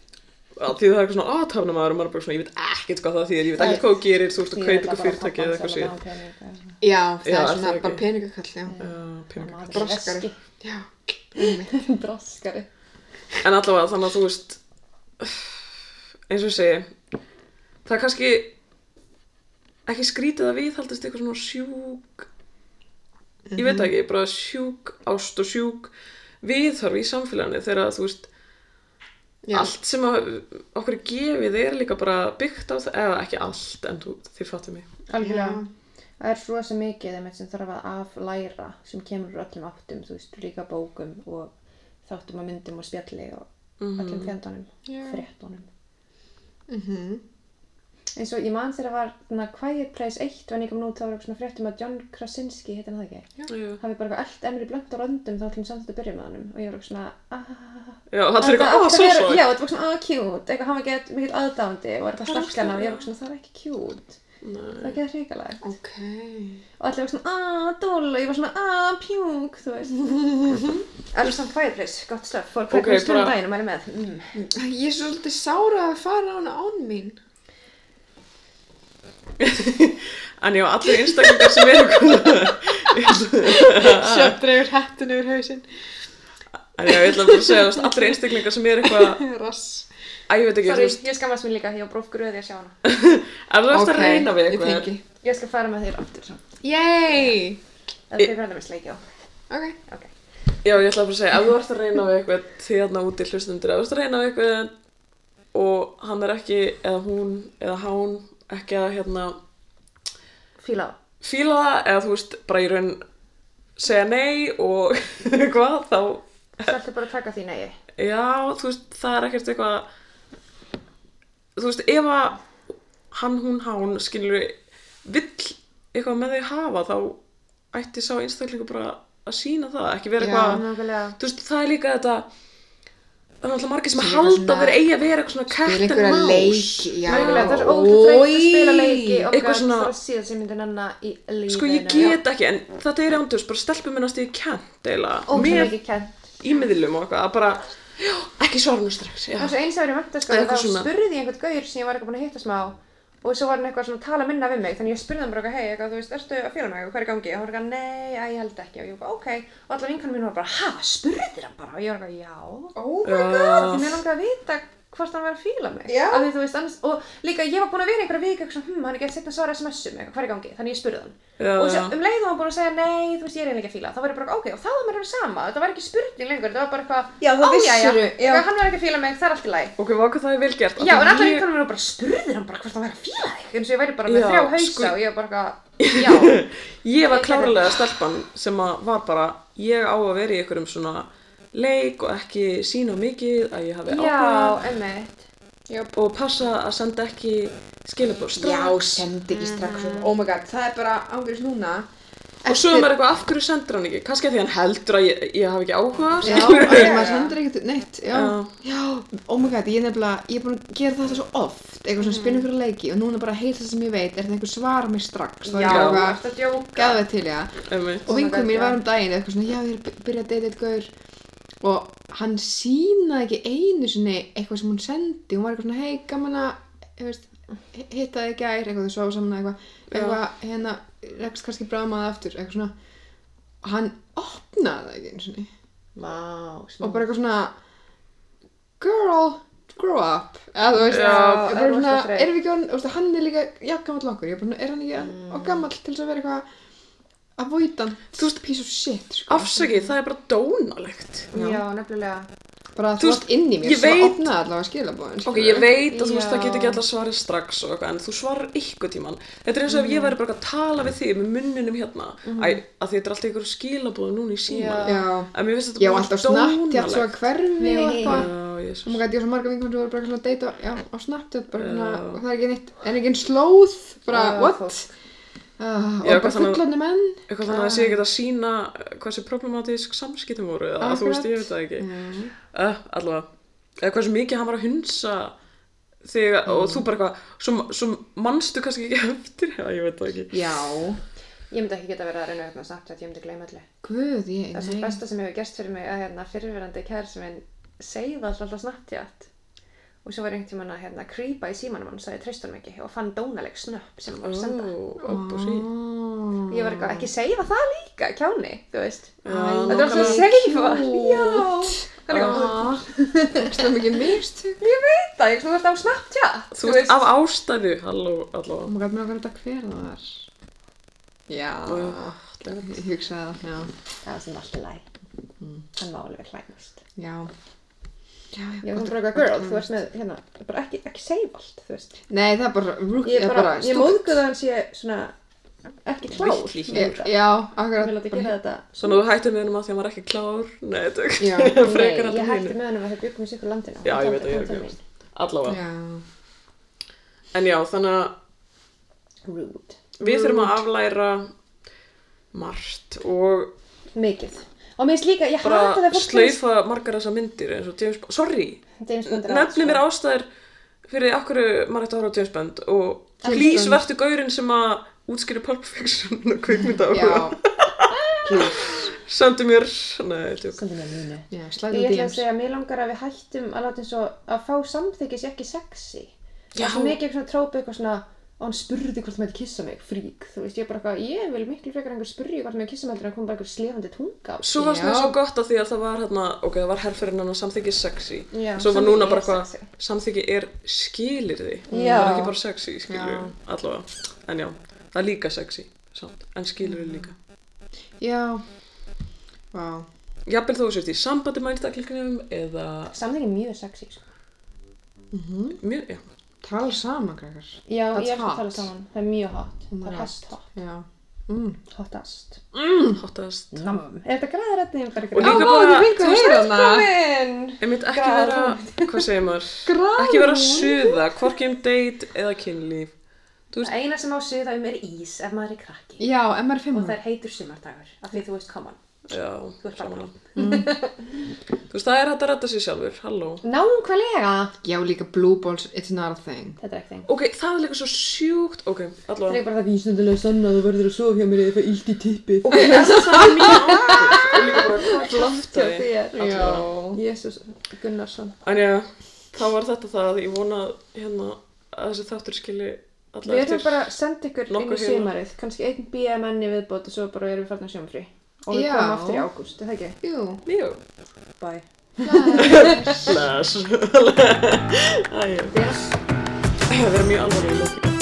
Að Því það er eitthvað svona aðtapnamaður og maður er bara svona, ég veit ekkert hvað það þýðir, ég veit ekkert hvað þú gerir, þú ert að kaupa eitthvað fyrirtæki eða eitthvað síðan. síðan Já, það Já, er er svona það ekki? bara peningakall, já Braskari. Já, einmitt. Braskari En allavega þannig að þú veist eins og ég segi það er kannski ekki skrítið að viðhaldast eitthvað svona sjúk ég veit það ekki, bara sjúk ást og sjúk viðhorf í samfélaginu þegar að þú veist já, allt sem að okkur er gefið er líka bara byggt á það eða ekki allt en þú, þið fattum mig Algjörlega Það er svo sem mikið þeim sem þarf að aflæra sem kemur úr öllum áttum, þú veist, líka bókum og þáttum og myndum og Mhm. Mm. spjalli og öllum fjandunum, Já. fréttunum mhm eins og ég man þegar var þarna, Quiet Place 1 var nýgum nút þá var eitthvað svona fréttum að John Krasinski heitir hann það ekki Jú. hafi bara eitthvað allt emri blönd á röndum þá ætlum við samt að byrja með honum og ég var eitthvað svona ahhh Já, það er eitthvað, ah, átti að svo vera- svo Já, þetta var svona, ah, cute, eitthvað hann var gett mikil aðdándi og var eitthvað Það er stakkan og ógeðslega- ég var eitthvað svona, það er ekki cute það var ekki hrikalegt Ok. og allir var svona, ah, dól og ég var svona, ah, pjúk, þú veist Alison Fireplace, gott stöf Fór Ok, hvernig okay, stundum bara- daginn og mæli með mm. Ég er svolítið sára að fara á hana án mín. En já, allir einstaklingar sem eru Sjöfn dreifur hættin yfir hausinn. En já, ég ætla bara að segja, þú veist, allir einstaklingar sem eru eitthvað Rass. Æ, ég veit ekki, þú Sorry, veist, ég skammast mér líka, ég var brófgröði að sjá hana ef þú ert að reyna við ég eitthvað fengi. Ég skal fara með þér aftur svo Yay! Það er verður með sleikjá Ok. Ok Já, ég ætla bara að segja, ef þú ert að reyna við eitthvað því þarna úti hlustundur, ef þú ert að reyna við eitthvað og hann er ekki, eða hún, eða hán ekki að hérna Fíla á fíla það, eða þú veist, bara í raun segja nei og hvað, þá Það ætti bara að taka því negi já, þú veist, það er ekkert eitthvað þú veist, ef að hann, hún, hán, skilur vill eitthvað með þig hafa þá ætti sá einstaklingu bara að sína það, ekki vera Já, eitthvað Nákvæmlega þú veist, það er líka þetta það er alltaf margir sem Sem eitthvað halda svona- að vera eigi að vera eitthvað svona Spila kættin einhverja más leiki, já. Nákvæmlega, það er svo ótrúlega þreytt að Oj. spila leiki og Eitthvað gæt svona- það er síðan sem myndi nanna í lífinu sko ég get ekki, en þetta er ándurs bara stelpum minnast ég kent eiginlega Ótrúlega með ekki kent í miðlum og eitthvað að bara, já, ekki svara nú strax já, Það er svo eins að verið mætta sko Eitthvað þá svona. spurði ég einhvern gaur sem ég var eitthvað búin að hitta smá og svo var hann eitthvað svona að tala minna við mig þannig ég spurði hann bara eitthvað, hei, eitthvað, þú veist, ertu að fjöla mig og hvað er í gangi? Og hann var eitthvað, nei, æ, ég held ekki og ég var eitthvað, ok, og allar vinkanum mín var bara, ha, spurðir hann bara og ég var eitthvað, já, Oh því já, mér langaði að vita hvort hann var að fíla mig Já. af því þú veist, annars, og líka ég var búin að vera einhverja vika eitthvað svona, hm, hann er ekki að setja að svara sms-um eitthvað, hvað er í gangi, þannig ég spurði hann og já, svo, um leiðum hann búin að segja, nei, þú veist, ég er eiginlega ekki að fíla þá var ég bara, ok, og þá var mér alveg sama, þetta var ekki spurning lengur þetta var bara eitthvað, Já, þá ó, jæja, vissirðu, já. eitthvað, hann var ekki að fíla mig, það er allt í lagi ok, vaka það er vel gert já, en Af því allar ég- einhvern veginn bara spurðir hann bara hvort hann væri að fíla þig eins og ég væri bara með Já, þrjá hausa sko- og ég var bara, eitthvað, já, ég var Ég- klárlega stelpan sem að var bara ég á að vera í einhverjum svona leik og ekki sína mikið að ég hafi áhuga já, emmitt og passa að senda ekki skilabóð Já, strax sendi ekki strax upp. Oh my god, það er bara ángurist núna. og svo er maður eitthvað af hverju sendur hann ekki kannski af því hann heldur að ég, ég hafi ekki áhuga Já, skilurðu. af því að maður sendur ekkert neitt, já. Já. Já, oh my god, ég er nefnilega, ég er búin að gera þetta svo oft, eitthvað svona spinna fyrir leiki og núna bara heilt það sem ég veit, er þetta einhver svara mér strax, þá já, er ég þú bara ert að djóka gæðveit til ég það. Einmitt. Og my vinkum God, mín já. var um daginn eitthvað svona, já, ég er að byrja að deyta eitthvað og hann sínaði ekki einu sinni eitthvað sem hún sendi, hún var eitthvað svona, hei, gaman að, ég veist, hittaði í gær, eitthvað, þú svo saman eða eitthvað, eitthvað, hérna, rekst kannski bráðum að aftur, eitthvað svona, og hann opnaði það ekki einu sinni og bara eitthvað svona girl, grow up eða þú veist, Já, ég það er bara svona, rosa þreytt. erum við ekki on, veist, hann er líka jafngamall okkur, ég bara, svona, er hann ekki mm. og gamall til þess að vera eitthvað avoidant, þú veist, piece of shit sko. afsakið, það er bara dónalegt já, nefnilega bara að þú þú veist, veist inn í mér, ég sem veit- að opna allavega sko. skilabóðin ok, ég veit að þú veist Já. það getur ekki allar svarið strax og eitthvað en þú svarar ykkur tíman þetta er eins og Mhm. ef ég væri bara að tala við þig með munninum hérna Æ, að því þetta er alltaf ykkur skilabóð núna í síman já, en mér finnst þetta já, alltaf snapptjátt svo dónalegt. að hverfi og Nei. eitthvað Já, Oh Jesús. my god, ég á svo marga vinkum sem voru bara svona að deyta já, á Snapchat, bara svona, Já. og það er ekki neitt, en ekki einn slóð, bara, Já, what? fólk. Uh, Já, og bara hvað þannig- fullandi menn. eitthvað þannig að það Ah. sé ekki að sína hversu problematísk samskiptum voru eða þú veist, ég veit það ekki Já. uh, allavega, eða hversu mikið hann var að hunsa þig Mhm. og þú bara eitthvað, svo, svo manstu kannski ekki eftir, já ég veit það ekki Já, ég myndi ekki geta verið að reyna upp með Snapchat, ég myndi gleyma allir guð, ég, það er svo nei. besta sem hefur gerst fyrir mig að hérna, fyrirverandi kærsi minn seifa alltaf Snapchat og svo var einhvern tímann að hérna, creepa í símanum hann, sagði treyst honum ekki og fann dónaleg snöpp sem hann var að senda oh, Ah. ég var eitthvað, ekki seifa það líka, kjáni, þú veist Já, þetta er alltaf að seifa, já það er eitthvað, Það er mikið mistök. Ég veit það, ég þú ert á Snapchat þú veist, af ástæðu halló, allavega Oh my god, mér okkar þetta hver það var. Já, uh, ég hugsaði það, já. Það var sem alltaf læg Hann má alveg klænast Já, já, ég já. var svona bara eitthvað girl, þú veist með, hérna, bara ekki, ekki save allt, þú veist Nei, það er bara, rúk, ég bara, ég stúpid. móðguði að hann sé svona ekki klár Villi með hér. þetta. Já, ég akkurat. vil að gera þetta svona þú hættir með hennum að því að maður er ekki klár nei, þetta er Já, frekar nei, ég alltaf hætti hínu um með hann að þau byggum í sikur landinu Já, Hann ég taldi- veit að ég hann er taldi ekki. mín. allavega, já. en já, þannig að um Rude. við þurfum að aflæra margt og Mikið. Og mér finnst líka, ég hata bara þegar fólk finnst- slaufa margar þessar myndir eins og James Bond, sorry James Bond er allt, nefnir sko. mér ástæðir fyrir akkur maður ætti að horfa á James Bond og James please Bond. vertu gaurinn sem að útskýri Pulp Fiction og kvikmynda Já, sendu mér, nei, tjók Sendu mér línu. já, Ég slæðum ætla að díms. segja, mér langar að við hættum að láta eins og að fá samþykki sé ekki sexy. Það Já. er svo mikið eitthvað svona trópa eitthvað svona og hann spurði hvort maður kissa mig, frík. Þú veist, ég er bara eitthvað, ég vil miklu frekar einhver spurði hvort maður kissa mig heldur en að koma bara einhver slefandi tunga á. Svo varst Já. mér svo gott af því að það var hérna, ok, það var herrferinn hennar samþyggi sexy Já, Svo var samþykki núna er bara eitthvað, sexy. samþyggi er skilirði Það Já. er ekki bara sexy, skilur Já. allavega En já, það er líka sexy, samt, en skilirði líka Já, vá. Jafnvel þó þú sért í sambandi með einstaklingunum eða Samþykki er mjög sexy, sko. mjög, já Tala saman, krakkar. Já, That's ég er hot. að tala saman. Það er mjög hot. Oh my Það er God. hot hot. Já. Mm. Hottast. Hottast Nam. Er þetta græðarætni? Og líka Ó, ég bara, fengi að heyra hana. Minn! einmitt ekki vera, hvað segir maður Grá. Ekki vera að suða, hvorki um date eða kynlíf Það eina sem á suða um er ís ef maður er krakki. Já, MR5. Og það er heitur sumardagur, af því þú veist common. Já, Þú ert bara saman Þú veist, það er hægt að redda sér sjálfur, halló Nákvæmlega. Já, líka Blue Balls, it's not a thing. Þetta er ekki þing. Ok, það er líka svo sjúkt Ok, Það allavega er bara það vísnundulega sanna að þú verður að sofa hjá mér eða það illt í tippið. Ok, er það er mín ábyrgð Og líka Ah! bara hvað hjá glafta því þér. Allavega. Jésús Gunnarsson. En já, þá var þetta það Ég vona að, hérna að þessi þáttur skilji alla Við erum bara að senda ykkur inn í nokkur hérna. sumarið, kannski einn BMN í viðbót og svo bara erum við farin að sjómfrí. Og við Já. komum aftur í ágúst, er það ekki? Jú. Mjög Bye. Bless Æja Við erum mjög alvarlega í lókinu